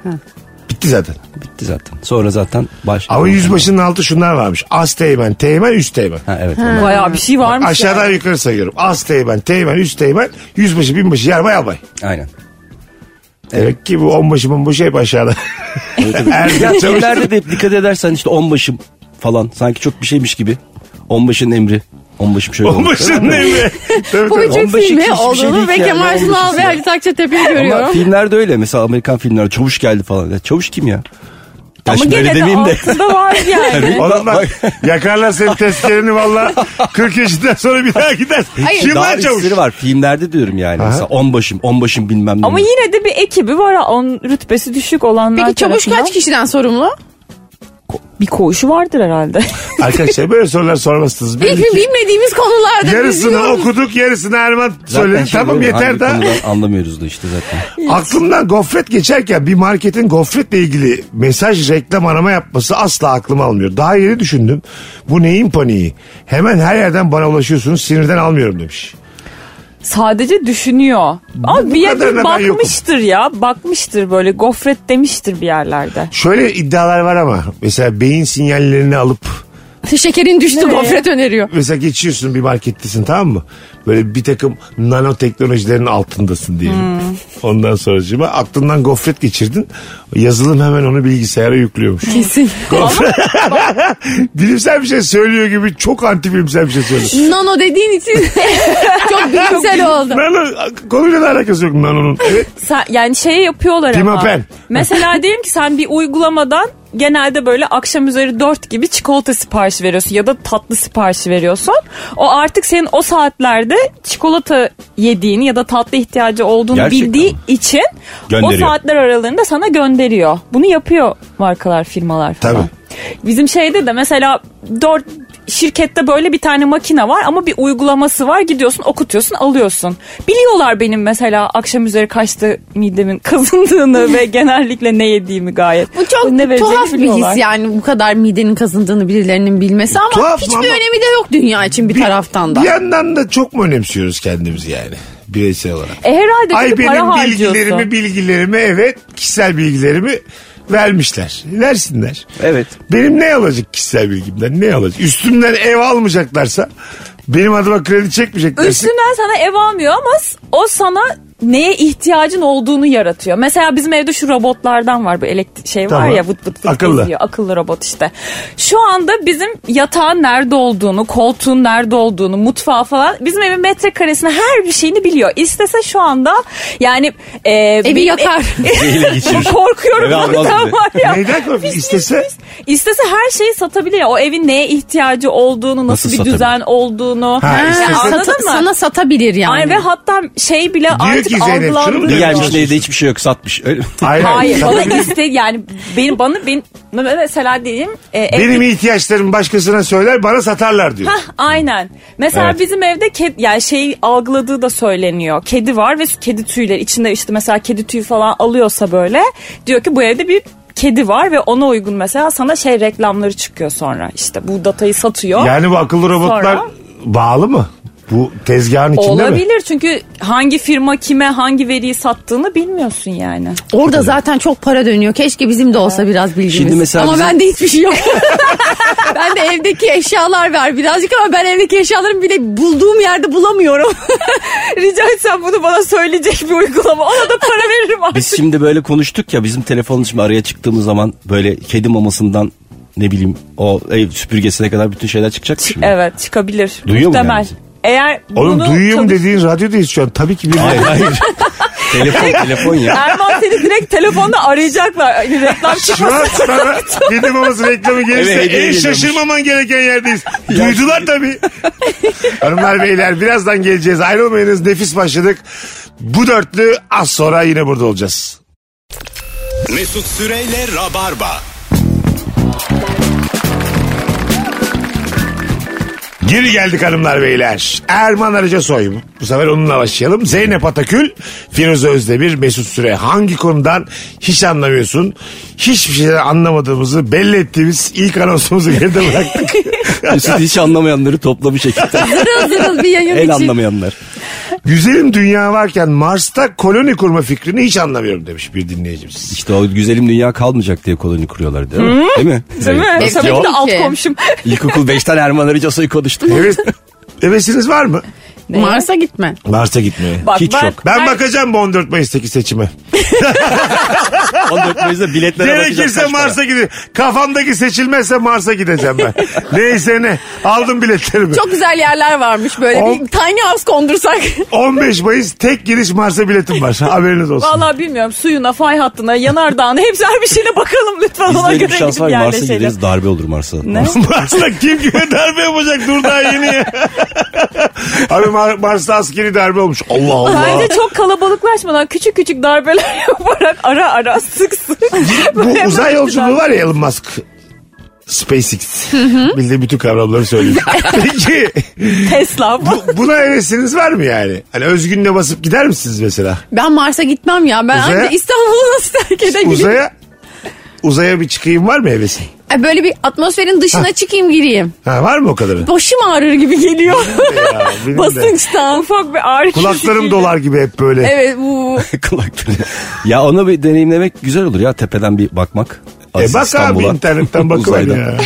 A: Bitti zaten.
C: Bitti zaten. Sonra zaten baş.
A: Ama yüzbaşının altı şunlar varmış. Az teğmen, teğmen, üst teğmen.
C: Ha, evet. onlar.
D: Bayağı bir şey varmış
A: Aşağıdan
D: yani.
A: yukarı sayıyorum. Az teğmen, teğmen, üst teğmen, yüzbaşı, binbaşı, yarbay, albay.
C: Aynen.
A: Demek ki bu onbaşı bombaşı hep aşağıda. Ergen çavuş.
C: Filmlerde de hep dikkat edersen işte onbaşı falan sanki çok bir şeymiş gibi. Onbaşının emri. Onbaşım şöyle olmuş.
A: Onbaşının evi. Tabii,
B: Bu
A: tabii.
B: üçün
C: On beşi
B: filmi
C: hiçbir şey
B: olduğunu
C: değil
B: ve
C: ki yani,
B: Kemal
C: on
B: Sunal
C: beşi
B: ve
C: ya.
B: Halit Akçatepe'yi
C: Ama
B: görüyorum.
C: filmler de öyle mesela Amerikan filmleri çavuş geldi falan. Ya, çavuş kim ya? Ya
D: Ama
C: şimdi öyle
D: gene de
C: demeyeyim de.
D: altında var yani.
A: Oğlum lan,
C: Bak-
A: yakarlar senin tezkereni valla 40 yaşından sonra bir daha gider.
B: Hayır.
A: Kim
C: Daha
A: lan çavuş?
C: üstleri var filmlerde diyorum yani.
A: Aha.
C: Mesela onbaşım, onbaşım bilmem ne.
D: Ama yine de bir ekibi var. ha, On rütbesi düşük olanlar
B: Peki çavuş
D: tarafından.
B: kaç kişiden sorumlu?
D: Bir koğuşu vardır herhalde.
A: Arkadaşlar böyle sorular sormazsınız. Belli
B: Hiçbir
A: ki
B: bilmediğimiz konularda
A: Yarısını
B: biliyoruz.
A: okuduk yarısını Erman
C: Zaten
A: söyledi.
C: şey
A: Tamam
C: böyle, hangi
A: yeter daha.
C: konudan Anlamıyoruz da işte zaten.
A: Aklımdan gofret geçerken bir marketin gofretle ilgili mesaj reklam arama yapması asla aklıma almıyor. Daha yeni düşündüm. Bu neyin paniği? Hemen her yerden bana ulaşıyorsunuz sinirden almıyorum demiş.
D: Sadece düşünüyor. Ama bir
A: kadarına
D: yerde
A: ben yokum.
D: bakmıştır ya. Bakmıştır böyle gofret demiştir bir yerlerde.
A: Şöyle iddialar var ama mesela beyin sinyallerini alıp
B: Şekerin düştü gofret öneriyor.
A: mesela geçiyorsun bir markettesin tamam mı? Böyle bir takım nanoteknolojilerin altındasın diyelim. Ondan sonra acaba aklından gofret geçirdin. Yazılım hemen onu bilgisayara yüklüyormuş.
B: Kesin.
A: bilimsel bir şey söylüyor gibi çok anti bilimsel bir şey söylüyor.
B: Nano dediğin için çok bilimsel oldu.
A: Nano konuyla da alakası yok Nano'nun. Evet.
D: Sen, yani şey yapıyorlar
A: Tim
D: ama.
A: Open.
D: Mesela diyelim ki sen bir uygulamadan genelde böyle akşam üzeri 4 gibi çikolata siparişi veriyorsun ya da tatlı siparişi veriyorsun. O artık senin o saatlerde çikolata yediğini ya da tatlı ihtiyacı olduğunu
C: Gerçekten
D: bildiği
C: mi?
D: için
C: Gönderiyor.
D: o saatler aralarında sana gönderiyor. Bunu yapıyor markalar, firmalar falan.
A: Tabii.
D: Bizim şeyde de mesela dört şirkette böyle bir tane makine var ama bir uygulaması var. Gidiyorsun okutuyorsun alıyorsun. Biliyorlar benim mesela akşam üzeri kaçta midemin kazındığını ve genellikle ne yediğimi gayet.
B: Bu çok
D: ne
B: tuhaf
D: vereceğini
B: bir
D: biliyorlar.
B: his yani bu kadar midenin kazındığını birilerinin bilmesi ama
A: Tuhaf
B: hiçbir
A: ama-
B: önemi de yok dünya için bir, taraftan da.
A: Bir yandan da çok mu önemsiyoruz kendimizi yani bireysel olarak?
D: E herhalde
A: Ay
D: çünkü para
A: benim bilgilerimi
D: harcıyorsun.
A: bilgilerimi evet kişisel bilgilerimi vermişler. Versinler.
C: Evet.
A: Benim ne alacak kişisel bilgimden ne alacak? Üstümden ev almayacaklarsa benim adıma kredi çekmeyeceklerse.
D: Üstünden sana ev almıyor ama s- o sana neye ihtiyacın olduğunu yaratıyor. Mesela bizim evde şu robotlardan var bu elektrik şey var
A: Tamam.
D: ya vıt vıt vıt
A: Akıllı.
D: geziyor. Akıllı robot işte. Şu anda bizim yatağın nerede olduğunu, koltuğun nerede olduğunu, mutfağı falan bizim evin metrekaresine her bir şeyini biliyor. İstese şu anda yani e,
B: Evi
D: benim- e,
B: yakar.
C: Beyle geçirir.
D: Korkuyorum.
C: Eve almaz bir de.
D: Tam var ya.
A: Neyden korkuyorsun? İstese
D: İstese her şeyi satabiliyor. O evin neye ihtiyacı olduğunu,
C: Nasıl
D: nasıl, bir
C: satabilir?
D: düzen olduğunu.
A: Ha,
D: Yani
A: istese-
D: anladın
B: Sata-
D: mı?
B: Sana satabilir yani.
D: Ay ve hatta şey bile artık
A: ki Zeynep, şunu
D: algılandı.
C: Ne
A: bile-
C: gelmiş ne de hiçbir şey yok satmış. Öyle mi?
A: hayır.
D: Hayır.
A: hayır.
D: O da iste yani benim bana benim mesela diyeyim e, ev-
A: Benim ihtiyaçlarımı başkasına söyler bana satarlar diyor.
D: Hah, aynen. Mesela
C: Evet.
D: bizim evde kedi, yani şey algıladığı da söyleniyor. Kedi var ve kedi tüyleri içinde işte mesela kedi tüyü falan alıyorsa böyle diyor ki bu evde bir kedi var ve ona uygun mesela sana şey reklamları çıkıyor sonra. İşte bu datayı satıyor.
A: Yani bu akıllı robotlar
D: Sonra?
A: bağlı mı? Bu tezgahın içinde mi?
D: Olabilir çünkü hangi firma kime hangi veriyi sattığını bilmiyorsun yani.
B: Orada zaten çok para dönüyor. Keşke bizim de olsa biraz bilgimiz.
C: Şimdi mesela
B: ama
C: bizim-
B: bende hiçbir şey yok. ben de evdeki eşyalar var birazcık ama ben evdeki eşyalarımı bile bulduğum yerde bulamıyorum.
D: Rica etsem bunu bana söyleyecek bir uygulama. Ona da para veririm artık.
C: Biz şimdi böyle konuştuk ya bizim telefonumuz şimdi araya çıktığımız zaman böyle kedi mamasından ne bileyim o ev süpürgesine kadar bütün şeyler çıkacak mı şimdi.
D: Evet çıkabilir.
C: Duyuyor mu
D: Muhtemel.
C: yani?
D: Eğer
A: Oğlum
D: bunu
A: duyuyor mu
D: çalış-
A: dediğin radyodayız şu an. Tabii ki bilmiyorum.
C: Hayır hayır. telefon telefon ya.
D: Erman seni direkt telefonda arayacaklar. Hani reklam
A: Şu
D: çıkmasın.
A: an sana kedi maması reklamı gelirse
C: Eve hediye
A: en
C: geliyormuş.
A: şaşırmaman gereken yerdeyiz. Duydular tabii. Hanımlar beyler birazdan geleceğiz. Ayrılmayınız nefis başladık. Bu dörtlü az sonra yine burada olacağız.
E: Mesut Süreyle Rabarba.
A: Geri geldik hanımlar beyler. Erman Arıca Soy. Bu sefer onunla başlayalım. Zeynep Atakül, Firuze Özdemir, Mesut Süre. Hangi konudan hiç anlamıyorsun? Hiçbir şeyden anlamadığımızı belli ettiğimiz ilk anonsumuzu geride bıraktık.
C: Mesut hiç anlamayanları toplamış ekipten.
B: zırıl zırıl bir yayın
C: El
B: için.
C: anlamayanlar.
A: Güzelim dünya varken Mars'ta koloni kurma fikrini hiç anlamıyorum demiş bir dinleyicimiz.
C: İşte o güzelim dünya kalmayacak diye koloni kuruyorlar değil mi? Değil mi?
D: Değil mi?
C: Nasıl
D: Tabii
C: ya?
D: ki de alt
B: Peki.
D: komşum.
C: İlkokul 5'ten Erman Arıca Soy'u konuştum.
A: Evet. Hevesiniz var mı?
B: Mars'a gitme.
A: Mars'a gitmeye.
D: Bak,
C: Hiç
D: ben-
C: yok.
A: Ben bakacağım bu 14 Mayıs'taki seçime.
C: 14 Mayıs'ta biletlere bakacak.
A: Gerekirse
C: kaç para.
A: Mars'a gideyim. Kafamdaki seçilmezse Mars'a gideceğim ben. Neyse ne. Aldım biletlerimi.
B: Çok güzel yerler varmış böyle
A: On-
B: bir tiny house kondursak.
A: 15 Mayıs tek giriş Mars'a biletim var. Haberiniz olsun.
D: Vallahi bilmiyorum suyuna, fay hattına, yanardağına hepsi her bir şeyine bakalım lütfen ona
C: Bizde
D: göre
C: bir şans
D: gidip
C: var Mars'a
D: yerleşelim.
C: gideriz darbe olur Mars'a.
D: Ne?
A: Mars'ta kim kime darbe yapacak? Dur daha yeni ya. Abi Mar- Mars'ta askeri darbe olmuş. Allah Allah.
D: Bence çok kalabalıklaşmadan küçük küçük darbeler yaparak ara ara sık sık.
A: Bu
D: Böyle
A: uzay
D: bir darbe.
A: yolculuğu var ya Elon Musk. SpaceX. Bildiğim bütün kavramları söyledim. Peki
D: Tesla.
A: bu- buna hevesiniz var mı yani? Hani özgünle basıp gider misiniz mesela?
B: Ben Mars'a gitmem ya. Ben
A: Uzaya-
B: anca İstanbul'u nasıl terk edebilirim?
A: Uzaya uzaya bir çıkayım var mı hevesin?
B: Ay, Böyle bir atmosferin dışına çıkayım gireyim.
A: Ha, var mı o kadarı?
B: Başım ağrır gibi geliyor.
A: Ya, benim de.
B: Basınçtan.
D: Ufak bir ağrı
A: Kulaklarım
D: kesildi.
A: dolar gibi hep böyle.
B: Evet bu.
C: Kulakları. ya ona bir deneyimlemek güzel olur ya tepeden bir bakmak.
A: E
C: Aziz
A: bak abi
C: İstanbul'a.
A: internetten bakıver
C: Uzaydan.
A: ya.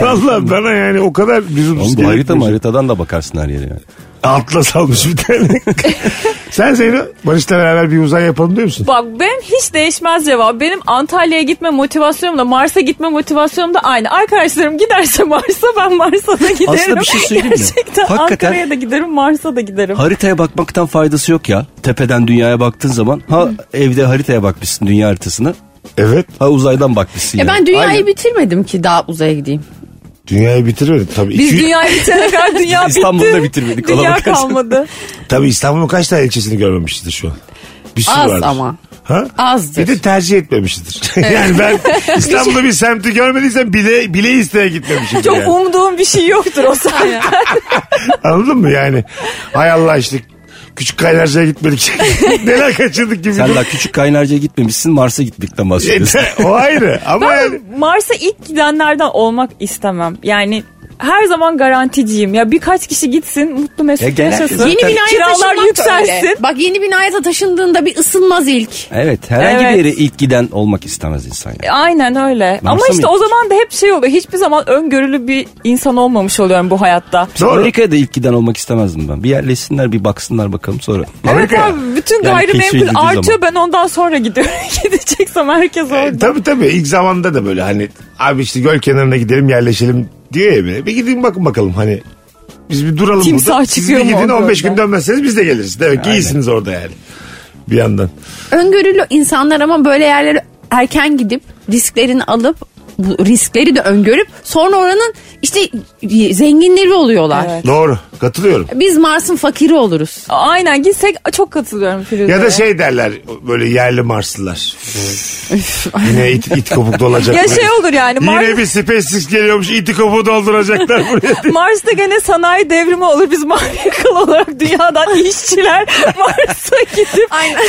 A: Valla bana yani o kadar lüzumsuz
C: Oğlum bu harita mı?
A: gerekmiş.
C: Haritadan da bakarsın her yere yani.
A: Atlas almış bir tane. Sen Zeyno Barış'la beraber bir uzay yapalım diyor musun?
D: Bak benim hiç değişmez cevap. Benim Antalya'ya gitme motivasyonum da Mars'a gitme motivasyonum da aynı. Arkadaşlarım giderse Mars'a ben Mars'a da giderim.
C: Aslında bir şey söyleyeyim mi?
D: Gerçekten
C: Hakikaten-
D: Ankara'ya da giderim Mars'a da giderim.
C: Haritaya bakmaktan faydası yok ya. Tepeden dünyaya baktığın zaman ha evde haritaya bakmışsın dünya haritasını.
A: Evet.
C: Ha uzaydan bakmışsın.
B: Ya
C: yani.
B: E ben dünyayı
A: Aynen.
B: bitirmedim ki daha uzaya gideyim.
A: Dünyayı bitirir. Tabii,
D: Biz
A: iki-
D: dünyayı bitene kadar dünya bitti.
C: İstanbul'da bitirmedik, ona
D: Dünya
C: bakarsan.
D: kalmadı.
A: tabii İstanbul'un kaç tane ilçesini görmemişizdir şu an. Bir sürü
B: Az
A: vardır.
B: ama.
A: Ha?
B: Azdır.
A: Bir de tercih etmemişizdir. yani ben İstanbul'da bir semti görmediysem bile, bile isteye gitmemişim.
D: Çok
A: yani.
D: umduğum bir şey yoktur o sahne.
A: Anladın mı yani? Hay Allah işte küçük kaynarcaya gitmedik. Neler kaçırdık gibi.
C: Sen daha küçük kaynarcaya gitmemişsin Mars'a
A: E
C: gitmekten bahsediyorsun.
A: o ayrı ama yani.
D: Mars'a ilk gidenlerden olmak istemem. Yani her zaman garanticiyim. Ya birkaç kişi gitsin mutlu
C: Ya
D: mesut
C: genel-
D: yaşasın.
C: Zaten-
B: Yeni binaya
D: Kiralar
B: taşınmak
D: yükselsin.
B: Öyle. Bak yeni binaya taşındığında bir ısınmaz ilk.
C: Evet herhangi
D: Evet.
C: bir yere ilk giden olmak istemez insan yani.
D: E, Aynen öyle. Ama işte
C: mıydık?
D: o zaman da hep şey oluyor. Hiçbir zaman öngörülü bir insan olmamış oluyorum bu hayatta.
A: Doğru.
C: Amerika'da ilk giden olmak istemezdim ben. Bir yerleşsinler bir baksınlar bakalım sonra.
D: Evet
A: Amerika.
D: abi bütün
C: Yani
D: gayrimenkul
C: keşfedildiği
D: artıyor
C: zaman.
D: ben ondan sonra gidiyorum. Gideceksem herkes
A: E,
D: orada.
A: tabii tabii ilk zamanda da böyle hani abi işte göl kenarına gidelim yerleşelim diyor ya biri. Bir gidin bakın bakalım hani biz bir duralım
D: Timsah
A: burada. Siz bir
D: çıkıyor mu
A: gidin
D: o
A: 15 gün
D: gölden?
A: dönmezseniz biz de geliriz. Demek ki iyisiniz orada yani. Bir yandan.
B: Öngörülü insanlar ama böyle yerlere erken gidip risklerini alıp bu riskleri de öngörüp sonra oranın işte zenginleri oluyorlar.
D: Evet.
A: Doğru. Katılıyorum.
B: Biz Mars'ın fakiri oluruz.
D: Aynen gitsek çok katılıyorum Firuze.
A: Ya da şey derler böyle yerli Marslılar. Yine it, it kopuk dolacak.
D: Ya
A: buraya.
D: şey olur yani Mars,
A: Yine bir SpaceX geliyormuş iti kopuğu dolduracaklar buraya.
D: Mars'ta gene sanayi devrimi olur. Biz manyakal olarak dünyadan işçiler Mars'a gidip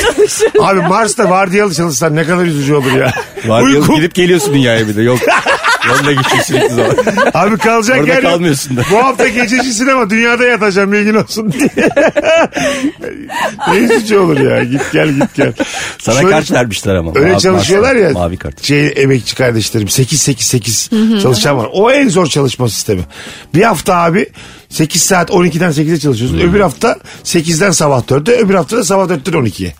D: çalışırız.
A: Abi Mars'ta vardiyalı çalışsan ne kadar üzücü olur ya.
C: Var ya,
A: Uyku.
C: gidip geliyorsun dünyaya bir de yol. Yolda geçiyor sürekli zaman.
A: Abi kalacak
C: Orada
A: yer yok.
C: kalmıyorsun da.
A: Bu hafta gececi sinema dünyada yatacağım bilgin olsun diye. ne üzücü olur ya git gel git gel.
C: Sana
A: Şöyle-
C: kart vermişler ama.
A: Öyle
C: Mavi
A: çalışıyorlar
C: kartla.
A: ya.
C: Mavi kart.
A: Şey, emekçi kardeşlerim 8-8-8 çalışan var. O en zor çalışma sistemi. Bir hafta abi 8 saat 12'den 8'e çalışıyorsun. Öbür hafta 8'den sabah 4'e öbür hafta da sabah 4'ten 12'ye.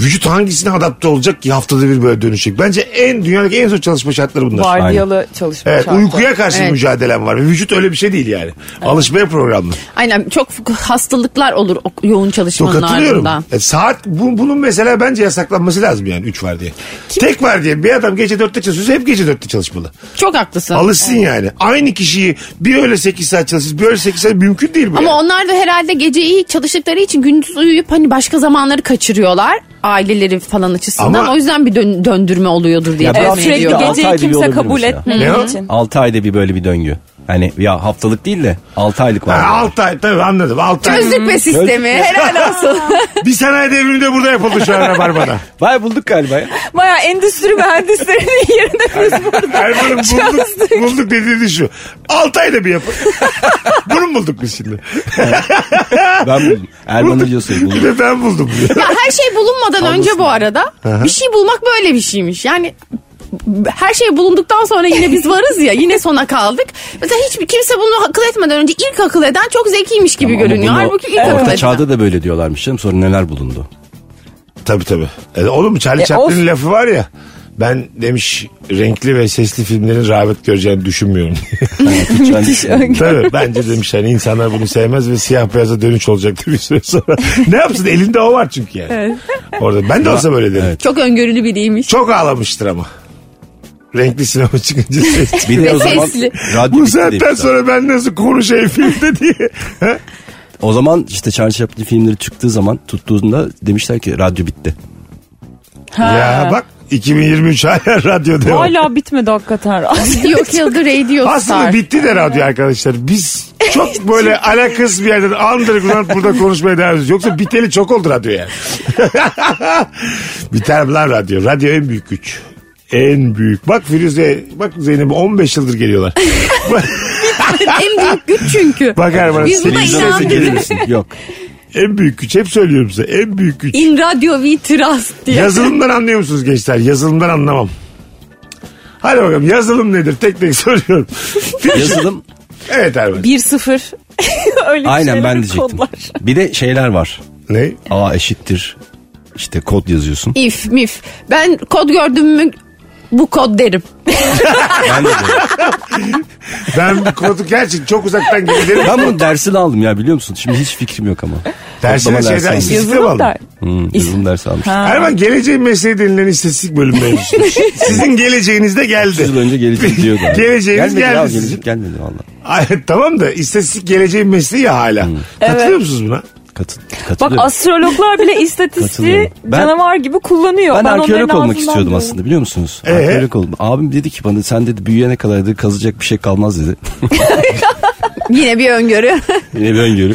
A: Vücut hangisine adapte olacak ki haftada bir böyle dönüşecek. Bence en dünyadaki en zor çalışma şartları bunlar.
D: Vardiyalı çalışma
A: Evet,
D: şartı.
A: uykuya karşı
B: Evet.
A: mücadelem var. Vücut öyle bir şey değil yani. Alışmaya programlı.
B: Aynen çok hastalıklar olur o yoğun
A: Çok
B: çalışmanın
A: katılıyorum.
B: ardından.
A: E, saat bu, bunun mesela bence yasaklanması lazım yani 3 var diye. Tek var diye bir adam gece 4'te çalışıyorsa hep gece 4'te çalışmalı.
B: Çok haklısın.
A: Alışsın yani. Aynı kişiyi bir öyle 8 saat çalışsın bir öyle 8 saat mümkün değil bu. yani.
B: Ama onlar da herhalde gece iyi çalıştıkları için gündüz uyuyup hani başka zamanları kaçırıyorlar. Aileleri falan açısından.
A: Ama-
B: o yüzden bir dön- döndürme oluyordur diye
C: Ya
D: Evet,
B: tahmin
C: Altı
D: sürekli
B: ediyorum.
C: ay
D: geceyi
C: gibi
D: kimse
C: olabilir
D: kabul
C: mesela.
A: Ne o?
D: etmediği için.
C: 6 ayda bir böyle bir döngü. Hani ya haftalık değil de 6 aylık var.
A: Ha, altı ay tabii anladım. 6 ay.
B: Çözdük be sistemi. Helal olsun.
A: bir sanayi devrimi de burada yapıldı şu an Rabarba'da.
C: Vay bulduk galiba ya.
D: Baya endüstri mühendislerinin yerine biz burada.
A: Erman'ın bulduk, bulduk dediği şu. 6 ayda bir yapın. Bunu mu bulduk biz şimdi?
C: Ben buldum. Erman Hoca'sı
A: Bir
C: buldum.
A: de ben buldum.
B: Ya her şey bulunmadan önce bu arada bir şey bulmak böyle bir şeymiş. Yani b- her şey bulunduktan sonra yine biz varız ya yine sona kaldık. Mesela hiçbir kimse bunu akıl etmeden önce ilk akıl eden çok zekiymiş gibi
C: Ama
B: görünüyor.
C: bunu
B: Halbuki ilk akıl
C: Orta
B: eden.
C: çağda da böyle diyorlarmış canım. Sonra neler bulundu?
A: Tabii tabii. E, oğlum Charlie
D: E,
A: Chaplin'in
D: of.
A: lafı var ya. Ben demiş renkli ve sesli filmlerin rağbet göreceğini düşünmüyorum.
C: Müthiş
A: tabii bence demiş hani insanlar bunu sevmez ve siyah beyaza dönüş olacaktı bir süre sonra. ne yapsın elinde o var çünkü yani. Orada ben de olsa böyle derim.
B: Çok öngörülü biriymiş.
A: Çok ağlamıştır ama. Renkli sinema çıkınca ses.
C: Bir de o
B: Ve
C: zaman
B: sesli.
C: radyo
A: Bu
C: bitti de
A: saatten
C: iptal.
A: sonra ben nasıl konuşayım filmde diye. Ha?
C: O zaman işte Charlie Chaplin filmleri çıktığı zaman tuttuğunda demişler ki radyo bitti.
A: ya bak 2023 hala radyo devam.
D: Hala bitmedi hakikaten.
B: Yok yıldır Radio
A: Aslında
B: Star.
A: bitti de radyo arkadaşlar. Biz çok böyle alakasız bir yerden underground burada konuşmaya devam ediyoruz. Yoksa biteli çok oldu radyo yani. Biter mi lan radyo? Radyo en büyük güç. En büyük. Bak Firuze, bak Zeynep 15 yıldır geliyorlar.
B: en büyük güç çünkü.
A: Bak Erman.
B: Biz buna
A: senin
C: Televizyon
B: inandık.
C: sesi gelir misin? Yok.
A: En büyük güç. Hep söylüyorum size. En büyük güç.
B: In Radio We Trust diye.
A: Yazılımdan anlıyor musunuz gençler? Yazılımdan anlamam. Hadi bakalım yazılım nedir? Tek tek soruyorum.
C: Yazılım
A: evet Erman.
D: 1-0. Öyle
C: aynen
D: şeyler,
C: ben diyecektim.
D: kodlar.
C: Bir de şeyler var.
A: Ne?
C: A eşittir. İşte kod yazıyorsun.
B: If mif. Ben kod gördüm mü bu kod derim.
C: Ben, de böyle.
A: Ben bu kodu gerçekten çok uzaktan gelirim.
C: ben bunun dersini aldım ya biliyor musun? Şimdi hiç fikrim yok ama.
A: Dersine
C: Kodlama
A: şeyden
C: dersi almış.
A: istatistik mi
D: Yazılım
A: aldın?
D: da.
C: Hmm, yazılım dersi almış.
A: Erman geleceğin mesleği denilen istatistik bölüm mevzusu. Sizin geleceğiniz de geldi.
C: 300 yıl önce gelecek diyordu. abi.
A: Geleceğiniz
C: gelmedi ya,
A: geldi. sizin.
C: gelecek gelmedi valla.
A: Ay, tamam da istatistik geleceğin mesleği ya hala.
C: Hmm.
A: Katılıyor musunuz buna?
C: Katıl,
D: Bak
C: katılıyorum.
D: astrologlar bile istatistiği
C: Katılıyorum. şey- Ben-
D: canavar gibi kullanıyor.
C: ben,
D: onların
C: arkeolog olmak
D: ağzından
C: istiyordum
D: duydum.
C: aslında biliyor musunuz?
A: Ee?
C: Arkeolog oldum. Abim dedi ki bana sen dedi büyüyene kadar dedi, kazacak bir şey kalmaz dedi.
B: Yine bir öngörü.
C: Yine bir öngörü.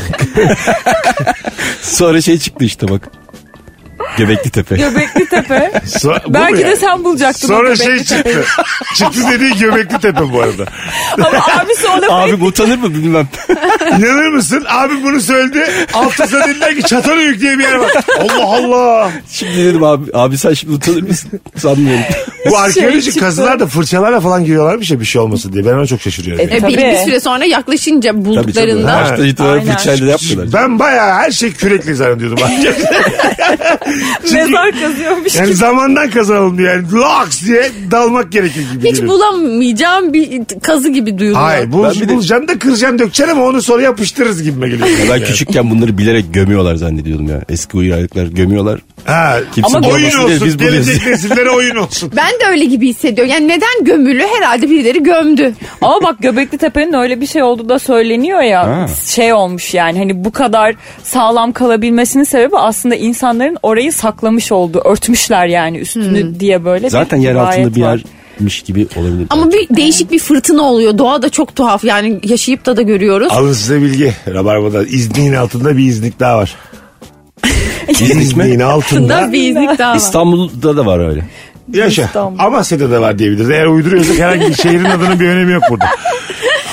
C: Sonra şey çıktı işte bak. Göbekli Tepe.
D: Göbekli Tepe.
A: Sonra- bu mu
D: Belki
A: yani?
D: de sen bulacaktın o
A: Sonra
D: Göbekli
A: şey çıktı. çıktı dediği Göbekli Tepe bu arada.
D: Ama abisi ona
C: Abi utanır mı bilmem.
A: İnanır mısın? Abi bunu söyledi. Altısa dediler ki Çatalhöyük diye bir yer var. Allah Allah.
C: Şimdi dedim abi, abi sen şimdi utanır mısın? Sanmıyorum.
A: Bu arkeolojik
D: Şey çıktı.
A: kazılar da fırçalarla falan giriyorlarmış ya bir şey olmasın diye. Ben ona çok şaşırıyorum. yani.
B: E, bir,
D: Tabii.
B: bir süre sonra yaklaşınca
C: Tabii tabii.
B: bulduklarında
C: Başta itibaren
D: Aynen.
C: fırçayla da yapmıyorlar.
A: Ben bayağı her şey kürekle zannediyordum. Çünkü
D: mezar kazıyormuş
A: yani
D: gibi.
A: zamandan kazanalım diye. Yani laks diye dalmak gerekir gibi.
B: hiç
A: geliyor.
B: bulamayacağım bir kazı gibi duyuluyor.
A: Hayır bu,
C: Ben bir de-
A: bulacaksın da kıracaksın dökeceksin ama onu sonra yapıştırırız gibime geliyor.
C: Ya Ben küçükken bunları bilerek gömüyorlar zannediyordum ya. Eski uyarlıklar gömüyorlar.
A: Ha,
C: Kimse
A: ama oyun
C: görmesin diye
A: olsun.
C: biz buluyoruz.
A: Gelecek nesillere oyun olsun.
B: Ben de öyle gibi hissediyorum. Yani neden gömülü? Herhalde birileri gömdü.
D: Ama bak Göbekli Tepe'nin öyle bir şey olduğu da söyleniyor ya.
C: Ha.
D: Şey olmuş yani hani bu kadar sağlam kalabilmesinin sebebi aslında insanların orayı saklamış olduğu. Örtmüşler yani üstünü diye böyle.
C: Zaten
D: bir
C: yer altında
D: rivayet
C: bir
D: var.
C: yermiş gibi olabilir.
B: Ama bir değişik bir fırtına oluyor. Doğa da çok tuhaf. Yani yaşayıp da da görüyoruz.
A: Alın size bilgi. Rabarba'da izniğin altında bir iznik daha var.
C: İznik mi?
A: İzniğin altında
B: Da bir izlik daha var.
C: İstanbul'da da var öyle.
A: yaşa.
D: İstanbul.
A: Amasya'da da var diyebiliriz. Eğer uyduruyorsak herhangi bir şehrin adının bir önemi yok burada.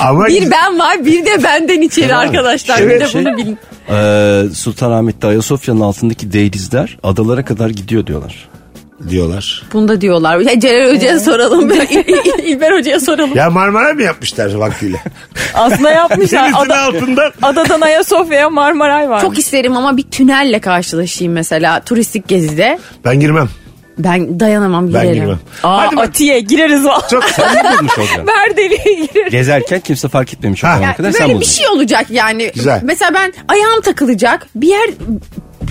A: Ama
B: Bir ben var bir de benden içeri arkadaşlar.
C: Şöyle
B: Bir
C: bir
B: de
C: şey.
B: bunu bilin.
C: Ee, Sultanahmet'te Ayasofya'nın altındaki değrizler adalara kadar gidiyor diyorlar.
A: diyorlar.
B: Bunu da diyorlar. Ya Celal Hoca'ya soralım. İl- İlber Hoca'ya soralım.
A: Ya Marmara mı yapmışlar vaktiyle?
D: Aslında yapmışlar.
A: Denizin
D: Ada,
A: altında
D: adadan Ayasofya'ya Marmaray var.
B: Çok isterim ama bir tünelle karşılaşayım mesela turistik gezide.
A: ben girmem.
B: Ben dayanamam
A: Ben
B: girerim.
A: girmem.
D: Aa,
A: Hadi bak.
D: Atiye gireriz valla.
A: Çok
C: Bulmuş olacak.
D: Berdeli'ye gireriz.
C: Gezerken kimse fark etmemiş o
A: Ha.
C: zamana
B: Yani
C: kadar
B: böyle
C: sen
B: bir
C: buldun.
B: şey olacak yani.
A: Güzel.
B: Mesela ben ayağım takılacak. Bir yer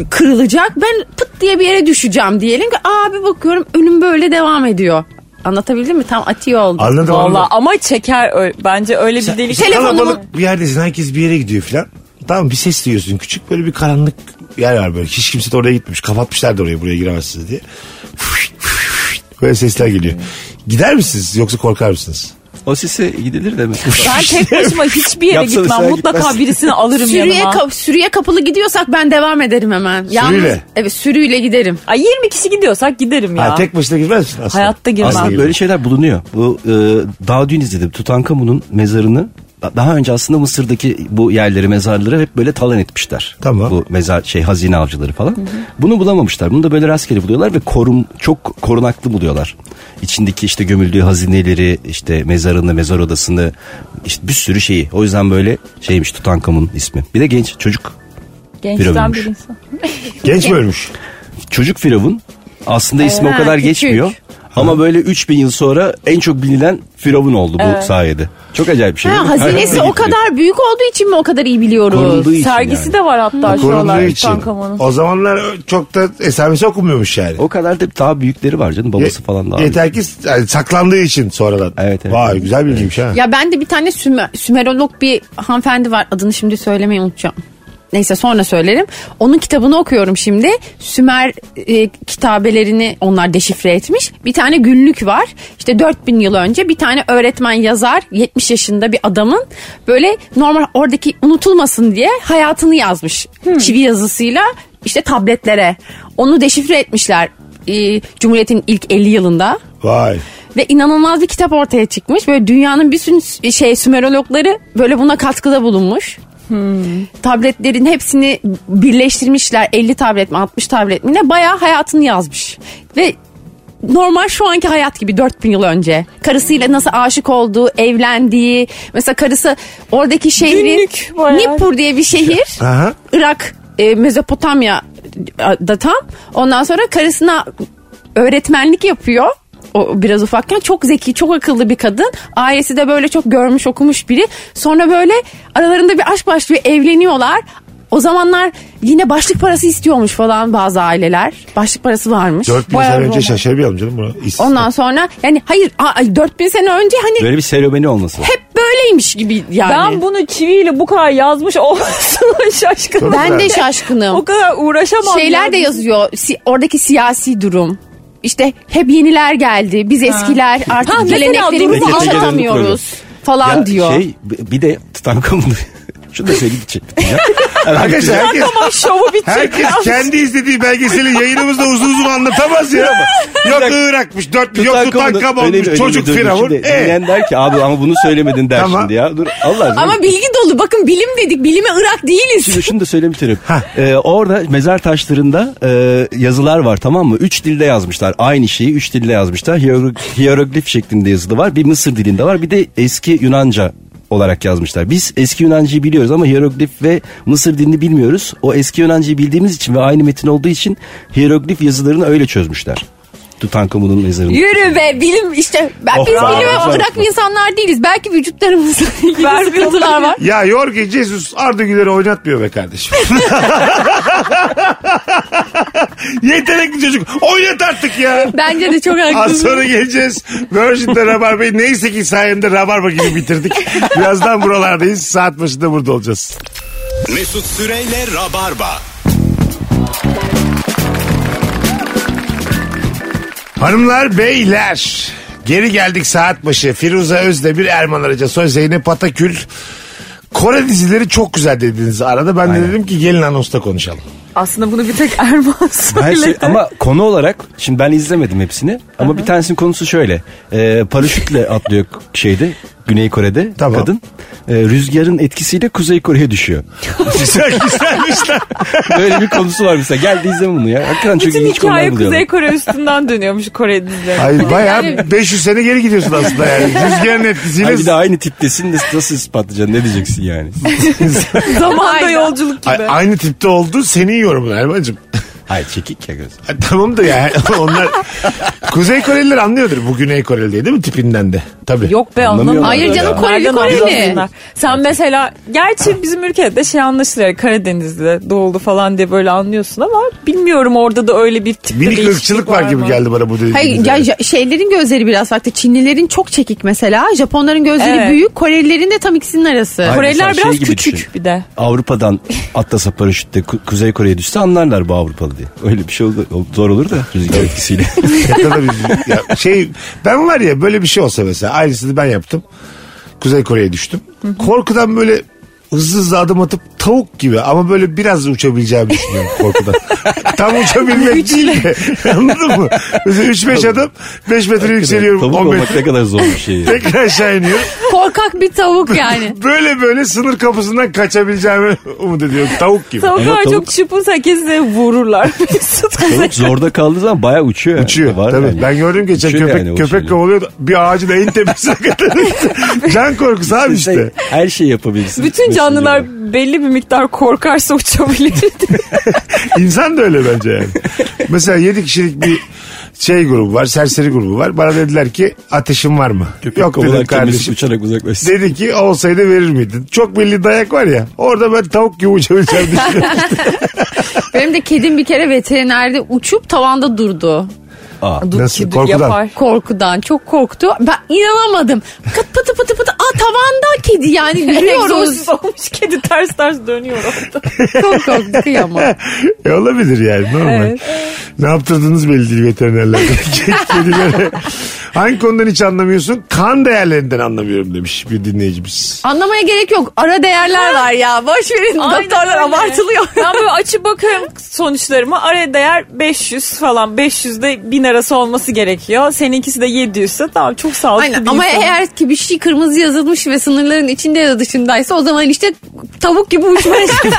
B: kırılacak. Ben pıt diye bir yere düşeceğim diyelim ki abi bakıyorum önüm böyle devam ediyor. Anlatabildim mi? Tam atiye oldu.
A: anladım
D: Valla
A: anladım.
D: ama çeker ö- bence öyle bir delik.
B: Telefonumu-
A: Kalabalık bir yerdesin herkes bir yere gidiyor filan. Tamam bir ses duyuyorsun küçük böyle bir karanlık yer var böyle. Hiç kimse de oraya gitmemiş. Kapatmışlar da orayı buraya giremezsiniz diye. Böyle sesler geliyor. Gider misiniz yoksa korkar mısınız?
C: O sise gidilir de mi?
D: Ben tek başıma hiçbir yere
C: Yapsanız
D: gitmem.
C: sen
D: Mutlaka
C: gitmezsin.
D: birisini alırım
B: Sürüye,
D: yanıma.
B: ka- sürüye kapılı gidiyorsak ben devam ederim hemen. Yalnız, evet sürüyle giderim.
D: Ay 20 kişi gidiyorsak giderim ya.
A: Ha, tek başına girmez misin aslında?
D: Hayatta girmem.
A: Aslında
C: Aslında böyle şeyler bulunuyor. Bu e, daha dün izledim. Tutankamon'un mezarını daha önce aslında Mısır'daki bu yerleri mezarları hep böyle talan etmişler.
A: Tamam.
C: Bu mezar şey hazine avcıları falan. Bunu bulamamışlar. Bunu da böyle rastgele buluyorlar ve korum çok korunaklı buluyorlar. İçindeki işte gömüldüğü hazineleri, işte mezarını, mezar odasını, işte bir sürü şeyi. O yüzden böyle şeymiş Tutankamon'un ismi. Bir de genç çocuk
D: Gençten
C: Piramit.
D: bir insan.
A: Genç mi ölmüş?
C: çocuk firavun aslında ismi
B: Ha,
C: o kadar
B: küçük.
C: geçmiyor. Ama böyle 3000 yıl sonra en çok bilinen firavun oldu bu sayede. Çok acayip bir şey.
B: Ha,
C: değil mi?
B: hazinesi o kadar büyük olduğu için mi o kadar iyi biliyoruz?
C: Korunduğu için
D: Sergisi
C: yani.
D: de var hatta şu
A: Korunduğu
D: an
A: için.
D: Tutankamon'un.
A: O zamanlar çok da esamesi okunmuyormuş yani.
C: O kadar da daha büyükleri var canım. Babası
A: Ye-
C: falan daha. büyük.
A: Yeter ki yani saklandığı için sonradan.
C: Evet, evet.
A: Vay güzel bilgiymiş ha.
B: Ya ben de bir tane Süme- Sümerolog bir hanımefendi var. Adını şimdi söylemeyi unutacağım. Neyse sonra söylerim. Onun kitabını okuyorum şimdi. Sümer e, kitabelerini onlar deşifre etmiş. Bir tane günlük var. İşte 4000 yıl önce bir tane öğretmen yazar 70 yaşında bir adamın böyle normal oradaki unutulmasın diye hayatını yazmış. Çivi yazısıyla işte tabletlere. Onu deşifre etmişler. e, Cumhuriyet'in ilk 50 yılında
A: Vay.
B: ve inanılmaz bir kitap ortaya çıkmış. Böyle dünyanın bir sürü s- şey Sümerologları böyle buna katkıda bulunmuş.
D: Hmm.
B: Tabletlerin hepsini birleştirmişler 50 tablet mi 60 tablet mi ne bayağı hayatını yazmış. Ve normal şu anki hayat gibi 4000 yıl önce. Karısıyla nasıl aşık olduğu, evlendiği. Mesela karısı oradaki şehri
D: Günlük bayağı.
B: Nippur diye bir şehir.
A: Aha.
B: Irak, e, Mezopotamya e, da tam. Ondan sonra karısına öğretmenlik yapıyor. O biraz ufakken çok zeki, çok akıllı bir kadın. Ailesi de böyle çok görmüş, okumuş biri. Sonra böyle aralarında bir aşk başlıyor, evleniyorlar. O zamanlar yine başlık parası istiyormuş falan bazı aileler. Başlık parası varmış.
A: 4000
D: Bayağı
A: sene önce
D: roman.
A: şaşırmayalım canım buna. İs-
B: Ondan sonra yani hayır a- ay, 4000 sene önce hani
C: Böyle bir serüveni olması.
B: hep böyleymiş gibi yani.
D: Ben bunu çiviyle bu kadar yazmış olmasına şaşkınım.
A: Tabii.
B: ben de şaşkınım.
D: O kadar uğraşamam.
B: şeyler de
D: yani.
B: yazıyor. Si- oradaki siyasi durum. İşte hep yeniler geldi. Biz eskiler artık
D: Ha, mesela
B: geleneklerimizi
C: durumu
B: yaşatamıyoruz
C: anlatıyorum.
B: falan
C: Ya
B: diyor.
C: Şey b- bir de Tutankamon'un şunu da söyleyeyim.
A: Arkadaşlar herkes,
D: Tamam şovu bitecek.
A: herkes kendi izlediği belgeseli yayınımızda uzun uzun anlatamaz ya. Yok Irak'mış, dört, yok Tutankamon'muş, çocuk firavun.
C: Şimdi
A: E,
C: dinleyen der ki abi ama bunu söylemedin der
A: Tamam.
C: şimdi ya. Dur Allah aşkına.
B: Ama bilgi dolu. Bakın bilim dedik. Bilime ırak değiliz.
C: Şimdi şunu da söyle bitirelim. Ee, orada mezar taşlarında e, yazılar var tamam mı? Üç dilde yazmışlar. Aynı şeyi üç dilde yazmışlar. Hierog- Hieroglif şeklinde yazılı var. Bir Mısır dilinde var. Bir de eski Yunanca olarak yazmışlar. Biz eski Yunancıyı biliyoruz ama hieroglif ve Mısır dilini bilmiyoruz. O eski Yunancıyı bildiğimiz için ve aynı metin olduğu için hieroglif yazılarını öyle çözmüşler. Tutankamon'un mezarını.
B: Yürü be bilim işte ben,
C: Oh,
B: biz
C: bravo,
B: bilime
C: bravo.
B: ırak insanlar değiliz. Belki vücutlarımızda ilgili
D: Ver
B: sıkıntılar var.
A: ya Jorge Jesus Arda Güler'i oynatmıyor be kardeşim. Yetenekli çocuk. Oynat artık ya.
B: Bence de çok
A: Az
B: haklısın.
A: sonra geleceğiz. Virgin'de Rabarba'yı neyse ki sayemde Rabarba gibi bitirdik. Birazdan buralardayız. Saat başında burada olacağız.
E: Mesut Süreyle Rabarba.
A: Hanımlar, beyler. Geri geldik saat başı. Firuze Özdemir, Erman Araca, Soy Zeynep Atakül. Kore dizileri çok güzel dediniz arada. Ben de dedim ki gelin anosta konuşalım.
D: Aslında bunu bir tek Erman
C: Ben
D: söyledi.
C: şey- ama konu olarak şimdi ben izlemedim hepsini ama bir tanesinin konusu şöyle Ee, paraşütle atlıyor şeyde Güney Kore'de
A: Tamam.
C: kadın Ee, rüzgarın etkisiyle Kuzey Kore'ye düşüyor.
A: Güzel güzelmiş lan.
C: Böyle bir konusu var mesela gel de izleme bunu ya. Hakikaten çok
D: Bütün
C: ilginç
D: hikaye
C: konular
D: Kuzey
C: buluyorlar.
D: Kore üstünden dönüyormuş Kore dizileri.
A: Ay bayağı 500 sene geri gidiyorsun aslında yani. Rüzgarın etkisiyle.
C: Hayır, bir de aynı tiptesin de nasıl ispatlayacaksın ne diyeceksin yani.
D: Zamanda
B: Aynen.
D: yolculuk gibi.
A: A- aynı tipte oldu. Senin yorumun Erman'cığım.
C: Hayır çekik ya göz.
A: Ha, Tamam da yani onlar Kuzey Koreliler anlıyordur bu Güney Koreli diye değil mi tipinden de? Tabii.
D: Yok be anlamıyorum.
C: Anlamıyorlar
B: Hayır canım, ya. Koreli, Koreli.
D: Sen mesela gerçi bizim ülkede şey anlaşılıyor yani Karadeniz'de doğuldu falan diye böyle anlıyorsun ama bilmiyorum orada da öyle bir tipte
A: Minik
D: değişiklik
A: ırkçılık var gibi
D: mı?
A: geldi bana bu dediğiniz.
B: Hayır ya, ja- şeylerin gözleri biraz farklı. Çinlilerin çok çekik mesela. Japonların gözleri
D: Evet.
B: büyük. Korelilerin de tam ikisinin arası.
C: Hayır,
D: Koreliler
C: mesela
D: biraz
C: şey gibi
D: küçük
C: düşün.
D: bir de.
C: Avrupa'dan atlasa paraşütle Ku- Kuzey Kore'ye düşse anlarlar bu Avrupalı diye. Öyle bir şey oldu, zor olur da rüzgar etkisiyle.
A: Ya tabii biz- ya şey ben var ya böyle bir şey olsa mesela aynısını ben yaptım. Kuzey Kore'ye düştüm. Korkudan böyle hızlı hızlı adım atıp tavuk gibi ama böyle biraz da uçabileceğimi düşünüyorum korkudan. Tam uçabilmek değil de anladın mı? Mesela 3-5 adım 5 metre yükseliyorum
C: Tavuk
A: 10
C: olmak
A: metre
C: ne kadar zor bir şey. ya.
A: tekrar aşağı iniyorum.
B: Korkak bir tavuk yani.
A: Böyle böyle sınır kapısından kaçabileceğimi umut ediyorum tavuk gibi.
D: Tavuklar
C: tavuk-
D: çok çırpınsa kesinlikle vururlar. Mesut
C: Tavuk zorda kaldığı zaman bayağı uçuyor.
A: Uçuyor
C: Var
A: tabii.
C: yani.
A: Ben gördüm geçen
C: Uçuyor
A: köpek
C: yani o
A: köpek
C: şeyle.
A: kovalıyordu. Bir ağacın en tepesine kadar. Can korkusu abi işte.
C: Sen Her şeyi yapabilirsin.
D: Bütün
C: Mesela.
D: canlılar belli bir miktar korkarsa uçabilir.
A: İnsan da öyle bence yani. Mesela 7 kişilik bir şey grubu var, serseri grubu var. Bana dediler ki ateşin var mı?
C: Köpek
A: Yok dedim
C: kovalarken Mesut
A: kardeşim.
C: uçarak uzaklaşsın.
A: Dedi ki olsaydı verir miydin? Çok belli dayak var ya. Orada ben tavuk gibi uçabileceğim düşünüyorum.
B: Benim de kedim bir kere veterinerde uçup tavanda durdu.
C: Aa,
A: Nasıl? Korkudan.
D: Yapar.
B: Korkudan çok korktu. Ben inanamadım. Kıt pıtı pıtı pıtı. Aa tavanda kedi yani yürüyoruz.
D: Egzorsiz olmuş kedi ters ters dönüyor orada.
B: çok korktu kıyamam.
A: E, olabilir yani normal.
D: Evet.
A: Ne yaptırdınız belli değil veterinerler. Kedilere. Hangi konudan hiç anlamıyorsun? Kan değerlerinden anlamıyorum demiş bir dinleyicimiz.
B: Anlamaya gerek yok. Ara değerler var ya. Boş verin.
D: Aynen
B: Doktorlar
D: öyle.
B: abartılıyor.
D: Ben böyle açıp bakıyorum sonuçlarıma. Araya değer 500 falan. 500'de 1000 arası olması gerekiyor. Seninkisi de 700 ise tamam çok sağlıklı
B: Aynen
D: bir
B: ama
D: insanım.
B: eğer ki bir şey kırmızı yazılmış ve sınırların içinde ya da dışındaysa o zaman işte tavuk gibi uçmaya çalışıyor.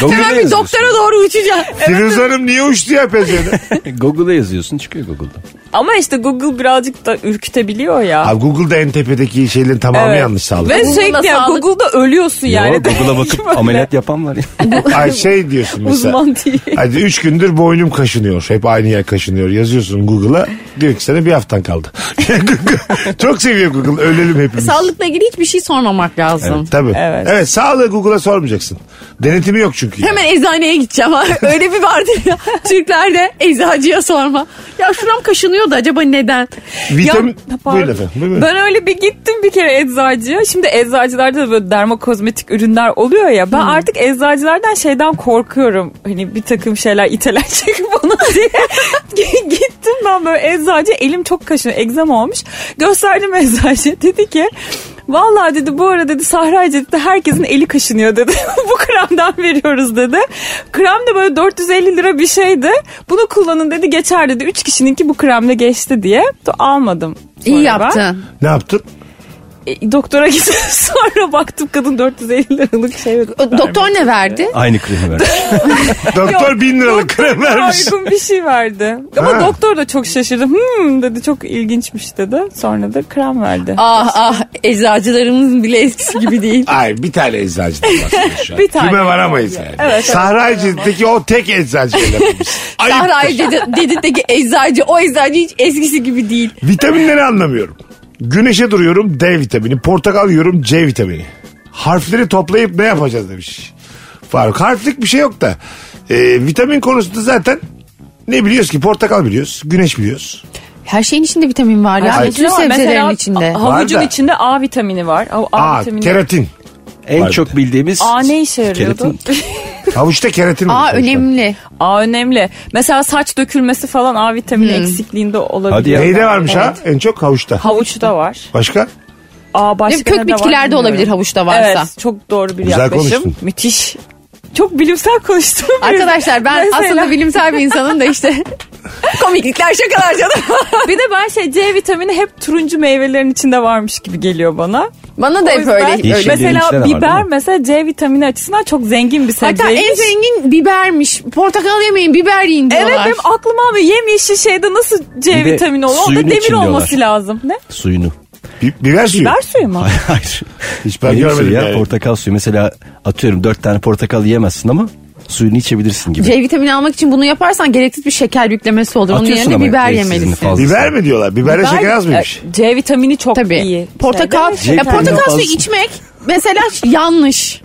C: Google'a
B: Hemen bir
C: yazıyorsun.
B: doktora doğru uçacağım.
A: Firuze Hanım niye uçtu ya pezevenk?
C: Google'a yazıyorsun çıkıyor Google'da.
D: Ama işte Google birazcık da ürkütebiliyor ya.
A: Abi Google'da en tepedeki şeylerin tamamı
D: Evet.
A: yanlış sağlık.
D: Ve
B: Google'da
D: sürekli ya,
B: sağlık-
D: Google'da ölüyorsun yani.
C: Yo, Google'a bakıp
D: Böyle
C: ameliyat yapan var ya.
A: Ay şey diyorsun mesela.
D: Uzman değil.
A: Hadi üç gündür boynum kaşınıyor. Hep aynı yer kaşınıyor. Yazıyorsun Google'a. Diyor ki sana bir haftan kaldı. Google- Çok seviyor Google. Ölelim hepimiz.
B: Sağlıkla ilgili hiçbir şey sormamak lazım.
A: Tabii. Evet.
D: Evet.
A: sağlığı Google'a sormayacaksın. Denetimi yok çünkü.
B: Hemen eczaneye gideceğim. ha. Öyle bir vardır ya. Türklerde eczacıya sorma. Ya şuram kaşınıyor da acaba neden?
A: Vitamin...
D: Ya, pardon.
A: Buyurun efendim. Buyurun.
D: Ben öyle bir gittim bir kere eczacıya. Şimdi eczacılarda da böyle dermokozmetik ürünler oluyor ya. Ben artık eczacılardan şeyden korkuyorum. Hani bir takım şeyler itelenecek bana diye. gittim ben böyle eczacı elim çok kaşınıyor. Egzama olmuş. Gösterdim eczacıya. Dedi ki Vallahi dedi bu ara dedi Sahra dedi herkesin eli kaşınıyor dedi. bu kremden veriyoruz dedi. Krem de böyle 450 lira bir şeydi. Bunu kullanın dedi geçer dedi. Üç kişininki bu kremle geçti diye. To- Almadım. Sonra
B: İyi
D: ben-
B: yaptın.
A: Ne yaptın?
D: E, doktora gittim sonra baktım kadın 450 liralık şey.
B: O- Doktor ne verdi?
C: Aynı kremi ver.
A: Doktor bin liralık
D: Doktor
A: krem vermiş.
D: Uygun bir şey verdi. Ama
A: Ha.
D: doktor da çok şaşırdı. Hmm dedi çok ilginçmiş dedi. Sonra da krem verdi.
B: Ah ah eczacılarımızın bile eskisi gibi değil.
A: Hayır bir tane eczacı var şu an.
D: Bir tane.
A: Kime varamayız yani.
D: evet.
A: Sahra Eczacı'daki o tek eczacı yapmış. Ayıp.
B: Sahra dedi, Dedit'teki eczacı o eczacı hiç eskisi gibi değil.
A: Vitaminleri anlamıyorum. Güneşe duruyorum D vitamini. Portakal yiyorum C vitamini. Harfleri toplayıp ne yapacağız demiş. Faruk harflik bir şey yok da. Ee, vitamin konusunda zaten ne biliyoruz ki portakal biliyoruz. Güneş biliyoruz.
B: Her şeyin içinde vitamin var ya.
D: Ay,
B: Bütün
D: mesela
B: sebzelerin
D: mesela
B: içinde.
D: ha- Havucun
A: Var da.
D: içinde A vitamini var. A, A
A: Aa,
D: vitamini.
A: keratin.
C: en
A: Var
C: çok bildiğimiz
D: A ne işe yarıyordu?
C: Keratin.
A: Havuçta keratin var.
B: Aa önemli.
D: A önemli. Mesela saç dökülmesi falan A vitamini
B: Hmm.
D: eksikliğinde olabilir.
C: Hadi ya.
A: Neyde varmış ha? En çok havuçta.
D: Havuçta var.
A: Başka?
D: A başka
B: Kök
D: ne de var
B: bitkilerde
D: bilmiyorum.
B: olabilir havuçta varsa.
D: Evet çok doğru bir
A: Güzel
D: yaklaşım.
A: konuştun.
D: Müthiş. Çok bilimsel konuştum.
B: Arkadaşlar ben
D: Mesela-
B: aslında bilimsel bir insanım da işte komiklikler şakalar canım.
D: bir de ben şey C vitamini hep turuncu meyvelerin içinde varmış gibi geliyor bana.
B: Bana da
D: O
B: hep
D: yüzden-
B: öyle.
C: Yeşillerin içinde de
D: Mesela
C: var,
D: biber
C: değil mi?
D: mesela C vitamini açısından çok zengin bir sebzeymiş.
B: Hatta en zengin bibermiş. Portakal yemeyin biber yiyin diyorlar.
D: Evet benim aklıma almıyor. Yemyeşil şeyde nasıl C
C: Bir de
D: vitamini olur?
C: suyun
D: Onda demir
C: için
D: olması
C: diyorlar.
D: lazım. Ne?
C: Suyunu.
A: Bi- biber suyu.
D: Biber suyu mu?
C: Hayır hayır.
A: Hiç ben
C: Benim
A: görmedim
C: suyu ya,
A: yani.
C: Portakal suyu mesela atıyorum dört tane portakal yiyemezsin ama suyunu içebilirsin gibi.
B: C vitamini almak için bunu yaparsan gereksiz bir şeker yüklemesi olur. Onun
C: Atıyorsun
B: yerine
C: ama
B: biber
C: gereksizini
B: yemelisin.
C: fazlasını.
A: Biber mi diyorlar? Biberde
D: Biber-
A: şeker az mıymış?
D: E, C vitamini çok
B: Tabii.
D: iyi.
B: Portakal,
D: Şeyde-
B: ya
C: C vitamini
B: portakal suyu
C: fazla.
B: içmek mesela yanlış.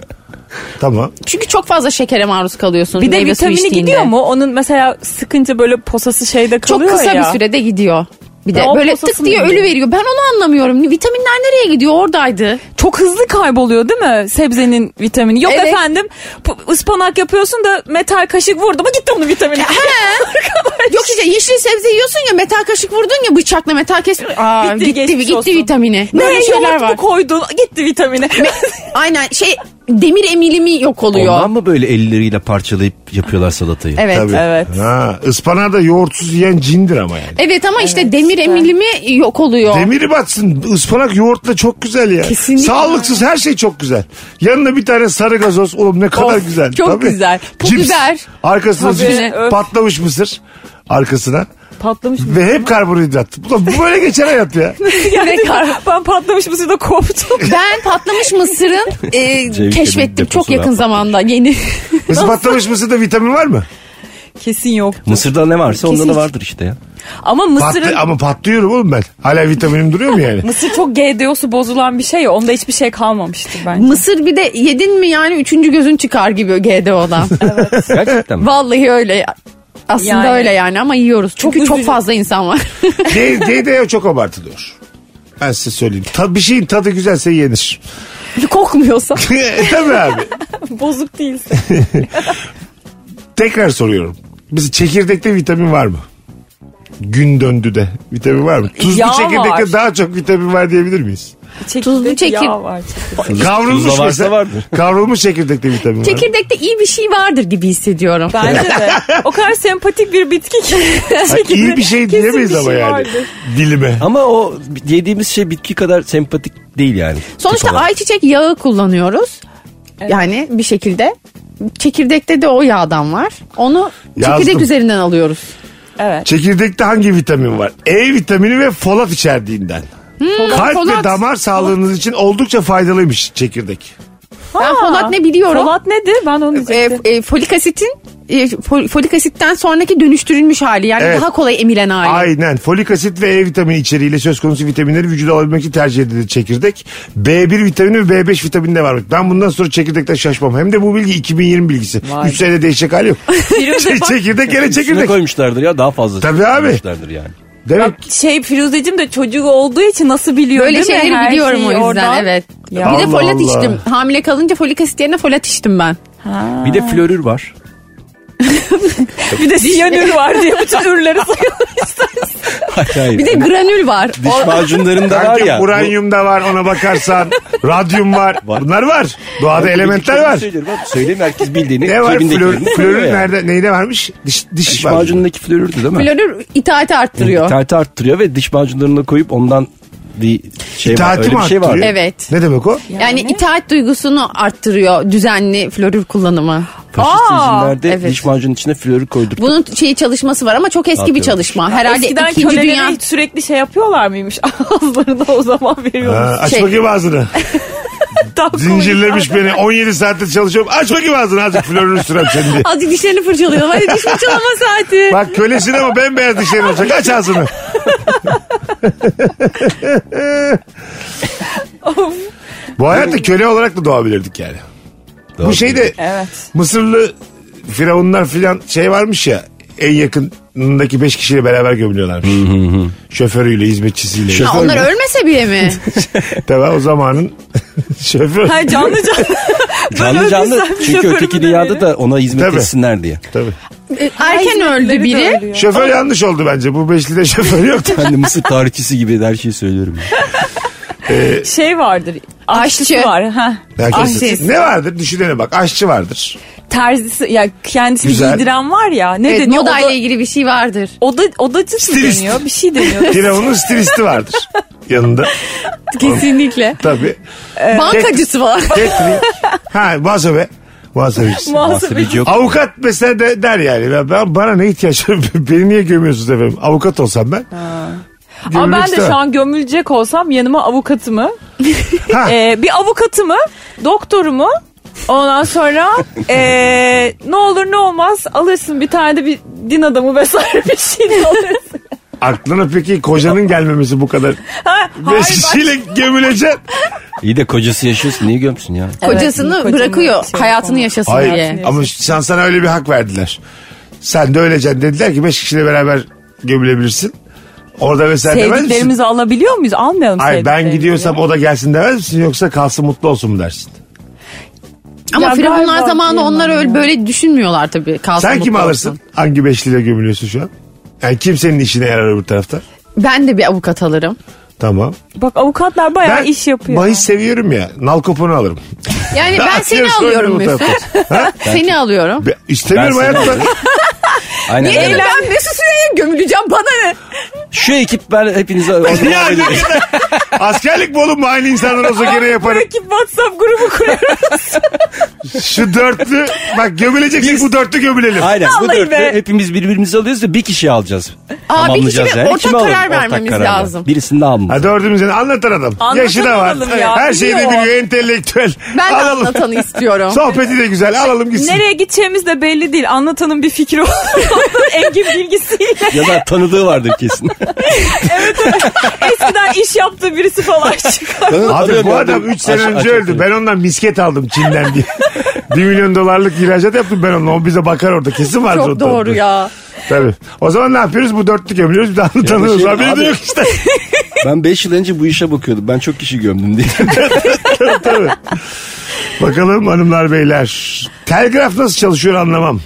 A: Tamam.
B: Çünkü çok fazla şekere maruz kalıyorsun.
D: Bir de
B: meyve suyu
D: vitamini
B: içtiğinde.
D: gidiyor mu? Onun mesela sıkınca böyle posası şeyde
B: Çok
D: kalıyor ya.
B: kısa bir sürede gidiyor. Bir de
D: Ya o
B: böyle
D: posasını
B: tık diye
D: biliyorum.
B: ölü veriyor. Ben onu anlamıyorum. Vitaminler nereye gidiyor? Oradaydı.
D: Çok hızlı kayboluyor değil mi sebzenin vitamini? Yok
B: Evet.
D: efendim p- ıspanak yapıyorsun da metal kaşık vurdu mu gitti onun vitamini.
B: Yok işte yeşil sebze yiyorsun ya metal kaşık vurdun ya bıçakla metal kes. Aa,
D: Bitti,
B: gitti gitti,
D: geçmiş olsun.
B: vitamini.
D: ne
B: Böyle şeyler
D: yoğurt mu
B: var.
D: koydun gitti vitamini.
B: Aynen şey demir emilimi yok oluyor.
C: Ondan mı böyle elleriyle parçalayıp yapıyorlar salatayı?
B: Evet.
A: Tabii.
D: Evet.
A: Ha, ıspanağı da yoğurtsuz yiyen cindir ama yani.
B: Evet ama işte demir emilimi yok oluyor.
A: Demiri batsın. Ispanak yoğurtla çok güzel ya.
B: Kesinlikle.
A: Sağlıksız her şey çok güzel. Yanına bir tane sarı gazoz. Oğlum ne kadar
B: Of,
A: güzel.
B: çok güzel. Pul biber.
A: Arkasına
D: Tabii,
A: cips.
D: öf.
A: Patlamış mısır. Arkasına.
D: Patlamış mı?
A: Ve hep karbonhidrat. Ulan bu böyle geçen hayat ya.
D: Yani ben patlamış mısır da koptum.
B: Ben patlamış mısırın e,
C: Ceviz
B: keşfettim
C: deposu
B: çok
C: daha
B: yakın
C: patlamış.
B: zamanda yeni.
A: Mesela patlamış mısırda vitamin var mı?
D: Kesin yok.
C: Mısırda ne varsa onda
B: Kesin.
C: da vardır işte ya.
D: Ama mısırın...
A: Patlı, ama patlıyorum oğlum ben. Hala vitaminim duruyor mu yani?
D: Mısır çok GDO'su bozulan bir şey ya. Onda hiçbir şey kalmamıştır bence.
B: Mısır bir de yedin mi yani üçüncü gözün çıkar gibi GDO'dan.
C: Gerçekten mi?
B: Vallahi öyle ya. Aslında
D: Yani.
B: öyle yani ama yiyoruz. Çünkü
D: Çok
B: çok,
D: üzücü.
B: fazla insan var.
A: G- GDO çok abartılıyor. Ben size söyleyeyim. Ta- bir şeyin tadı güzelse yenir. E,
B: Kokmuyorsa.
A: Tabii abi.
D: Bozuk değil.
A: Tekrar soruyorum. Mesela çekirdekte vitamin var mı? Gün döndü de vitamin var mı? Tuzlu
D: Yağ
A: çekirdekte
D: var.
A: daha çok vitamin var diyebilir miyiz?
B: Tuzlu çekir-
D: Yağ var.
A: Kavrulmuş
C: varsa
A: mesela.
C: vardır.
A: Kavrulmuş çekirdekte vitamin var mı?
B: Çekirdekte iyi bir şey vardır gibi hissediyorum.
D: Bence de. O kadar sempatik bir bitki ki.
A: Ha, İyi bir şey
D: Kesin
A: diyemeyiz
D: bir
A: ama
D: şey
A: yani.
D: vardır.
A: Dilime.
C: Ama o yediğimiz şey bitki kadar sempatik değil yani.
B: Sonuçta
C: Tip olarak.
B: ayçiçek yağı kullanıyoruz. Yani bir şekilde. Çekirdekte de o yağdan var. Onu
A: Yazdım.
B: çekirdek üzerinden alıyoruz.
D: Evet.
A: Çekirdekte hangi vitamin var? E vitamini ve folat içerdiğinden.
D: Hmm.
A: Kalp ve
B: folat.
A: damar sağlığınız için oldukça faydalıymış çekirdek.
B: Ben folat ne biliyorum.
D: Folat nedir? Ben onu diyecektim.
B: E, e, folik asitin e, fol- folik asitten sonraki dönüştürülmüş hali yani
A: Evet.
B: daha kolay emilen hali.
A: Aynen. Folik asit ve E vitamini içeriğiyle söz konusu vitaminleri vücuda alabilmek için tercih edilir çekirdek. B1 vitamini ve B5 vitamini de varmış. Ben bundan sonra çekirdekten şaşmam. Hem de bu bilgi 2020 bilgisi. 3 senede değişecek hali yok.
D: Firuze bak-
A: çekirdek gene
C: Üstüne
A: çekirdek.
C: koymuşlardır ya daha fazla.
A: Tabii abi.
C: Koymuşlardır yani.
A: Demek
D: Şey Firuzeciğim de çocuk olduğu için nasıl biliyor
B: Böyle
D: değil mi?
B: şeyleri
D: Her
B: biliyorum
D: şeyi
B: o yüzden
D: oradan.
B: evet.
D: Ya.
B: Bir de
A: Allah
B: folat
A: Allah.
B: içtim. Hamile kalınca folik asit yerine folat içtim ben.
C: Bir de florür var.
D: Bir de siyanür var diye bütün ürleri
C: Hayır, hayır.
B: Bir de granül var.
C: Diş macunlarında var
A: Kanka
C: ya.
A: uranyum da var ona bakarsan. radyum var. Bunlar var. Doğada elementler var.
C: şey- Söyleyeyim herkes bildiğini.
A: Ne var?
C: cebindekilerini
A: Flör,
C: söylüyor
A: flörün
C: yani.
A: nerede? Neyine varmış? Diş, diş,
C: Şey Diş
A: var.
C: macunundaki flörürdü değil mi?
B: Florür itaati arttırıyor.
C: İtaati arttırıyor ve diş macunlarına koyup ondan bir şey var.
A: İtaati
C: Öyle
A: mi
C: bir şey var.
A: arttırıyor?
B: Evet.
A: Ne demek o?
B: Yani itaat duygusunu arttırıyor düzenli florür kullanımı.
C: Faşist
D: Aa,
C: rejimlerde
B: evet.
C: diş macunun içine flörü koyduk.
B: Bunun şeyi çalışması var ama çok eski bir
C: Atıyorum.
B: çalışma. Herhalde
D: Eskiden
B: ikinci
D: kölelere
B: dünya
D: hiç sürekli şey yapıyorlar mıymış? Ağızlarına o zaman
A: Ha,
D: veriyormuş.
A: aç
B: Şey-
A: bakayım ağzını.
D: Tam komik.
A: Zincirlemiş beni. 17 saatte çalışıyorum. Aç bakayım ağzını azıcık flörün sürem senin diye.
B: Azıcık dişlerini fırçalayalım. Hadi diş fırçalama saati.
A: Bak kölesin ama bembeyaz dişlerin olacak. Aç ağzını. Bu hayatta köle olarak da doğabilirdik yani. Bu şeyde
D: Evet.
A: Mısırlı firavunlar filan şey varmış ya en yakınındaki 5 kişiyle beraber gömülüyorlarmış. Şoförüyle, hizmetçisiyle.
B: Ha, onlar ölmese bile mi?
A: Tabii o zamanın şoför.
D: Ha, canlı canlı.
C: Canlı canlı
D: öldürsem
C: çünkü
B: şey
D: şoförümü
C: öteki
D: de
C: dünyada
D: verin.
C: da ona hizmet
A: Tabii.
C: etsinler diye.
A: Tabii.
B: E, Erken öldü biri.
A: Şoför yanlış oldu bence. Bu beşlide şoför yoktu.
C: Ben de Mısır tarihçisi gibi her şeyi söylüyorum.
D: Şey vardır. Aşçısı
B: Aşçı.
D: var. Ha.
A: Herkes-
D: Aşçı.
A: ne vardır? Düşünene bak. Aşçı vardır.
D: Terzisi ya kendisini
A: Güzel.
D: giydiren var ya. Ne
B: Evet,
D: deniyor?
B: moda ile ilgili bir şey vardır.
D: Oda, odacı mı
A: Stilist.
D: deniyor? Bir şey deniyor.
A: Firavun'un stilisti vardır yanında.
B: Kesinlikle.
A: Tabii.
B: Bankacısı var.
A: Catering. Ha muhasebe. Muhasebecisi.
C: Muhasebeci yok.
A: Avukat mesela de- der yani "Ya ben, bana ne ihtiyaç var beni niye gömüyorsunuz efendim avukat olsam ben.
D: Ama
A: Gömülmek
D: ben de
A: istemem.
D: şu an gömülecek olsam yanıma avukatımı,
A: Ha.
D: e, bir avukatımı, doktorumu ondan sonra e, ne olur ne olmaz alırsın bir tane de bir din adamı vesaire bir şey de alırsın.
A: Aklına peki kocanın gelmemesi bu kadar.
D: Ha, hayır,
A: Beş kişiyle gömüleceksin.
C: İyi de kocası yaşıyorsun niye gömsün ya?
B: Kocasını
D: kocamı
B: bırakıyor.
D: şey
B: hayatını
D: yapamam.
B: yaşasın
A: Hayır
B: diye.
A: ama sen sana öyle bir hak verdiler. Sen de öleceksin dediler ki beş kişiyle beraber gömülebilirsin. Orada mesela demez misin?
D: Sevdiklerimizi alabiliyor muyuz? Almayalım
A: Ay ben
D: sevdiklerimizi.
A: gidiyorsam o da gelsin demez misin yoksa kalsın mutlu olsun mu dersin?
B: Ama
D: Ya
B: firavunlar
D: galiba
B: zamanı
D: diyemem
B: onlar öyle
D: ya.
B: böyle düşünmüyorlar tabii. Kalsın
A: Sen
B: mutlu
A: kim
B: olsun.
A: alırsın? Hangi beşliyle gömülüyorsun şu an? Yani kim senin işine yarar öbür tarafta?
B: Ben de bir avukat alırım.
A: Tamam.
D: Bak avukatlar bayağı
A: Ben
D: iş yapıyor.
A: bahis seviyorum ya. Nal kopunu alırım.
B: Yani E, ben seni
A: Atıyorum,
B: alıyorum
A: öbür
B: Mesut.
A: tarafta.
B: Seni alıyorum.
A: Be- İstemiyorum
C: Ben seni
A: hayatta.
C: alırım. Aynen öyle.
B: Ben Mesut Süre'ye gömüleceğim bana ne?
C: Şu ekip ben hepinize...
A: ya ne kadar. Askerlik mi oğlum bu aynı insanlar olsa gene yaparım.
D: Rakip WhatsApp grubu kuruyor.
A: Şu dörtlü bak gömüleceksek bu dörtlü gömülelim.
C: Aynen bu
D: Vallahi
C: dörtlü
D: be.
C: hepimiz birbirimizi alıyoruz da bir kişi alacağız.
B: Aa, bir
C: Tamamlayacağız
B: kişi
C: yani.
B: ortak
C: Kimi alalım?
B: karar
C: Ortak
B: vermemiz
C: karar ver.
B: lazım.
C: Birisini de almalı.
A: Ha dördümüzün anlatan adam.
D: Anlatan
A: Yaşı da var.
D: adam ya,
A: Her şeyi de
D: biliyor.
A: biliyor. Entelektüel.
B: Ben de
A: alalım.
B: anlatanı istiyorum.
A: Sohbeti de güzel. Alalım gitsin.
D: Nereye gideceğimiz de belli değil. Anlatanın bir fikri olur. Engin bilgisiyle.
C: Ya da tanıdığı vardır kesin.
D: Eskiden iş yaptığı birisi falan çıkar.
A: Abi
C: Tanıyorum
A: bu
C: ya,
A: adam
C: değil mi?
A: 3 sene
C: Aç-
A: önce
C: açık
A: öldü.
C: söyleyeyim.
A: Ben ondan misket aldım Çin'den diye. 1 milyon dolarlık ihracat yaptım ben onunla. O bize bakar orada. Kesin vardır o
B: Çok doğru
A: dörtlü.
B: ya.
A: Tabii. O zaman ne yapıyoruz? Bu dörtlü gömüyoruz. Bir daha tanıyoruz.
C: şey-
A: Haberi de
C: abi-
A: yok işte.
C: Ben 5 yıl önce bu işe bakıyordum. Ben çok kişi gömdüm diye.
A: Tabii. Bakalım hanımlar beyler. Telgraf nasıl çalışıyor anlamam.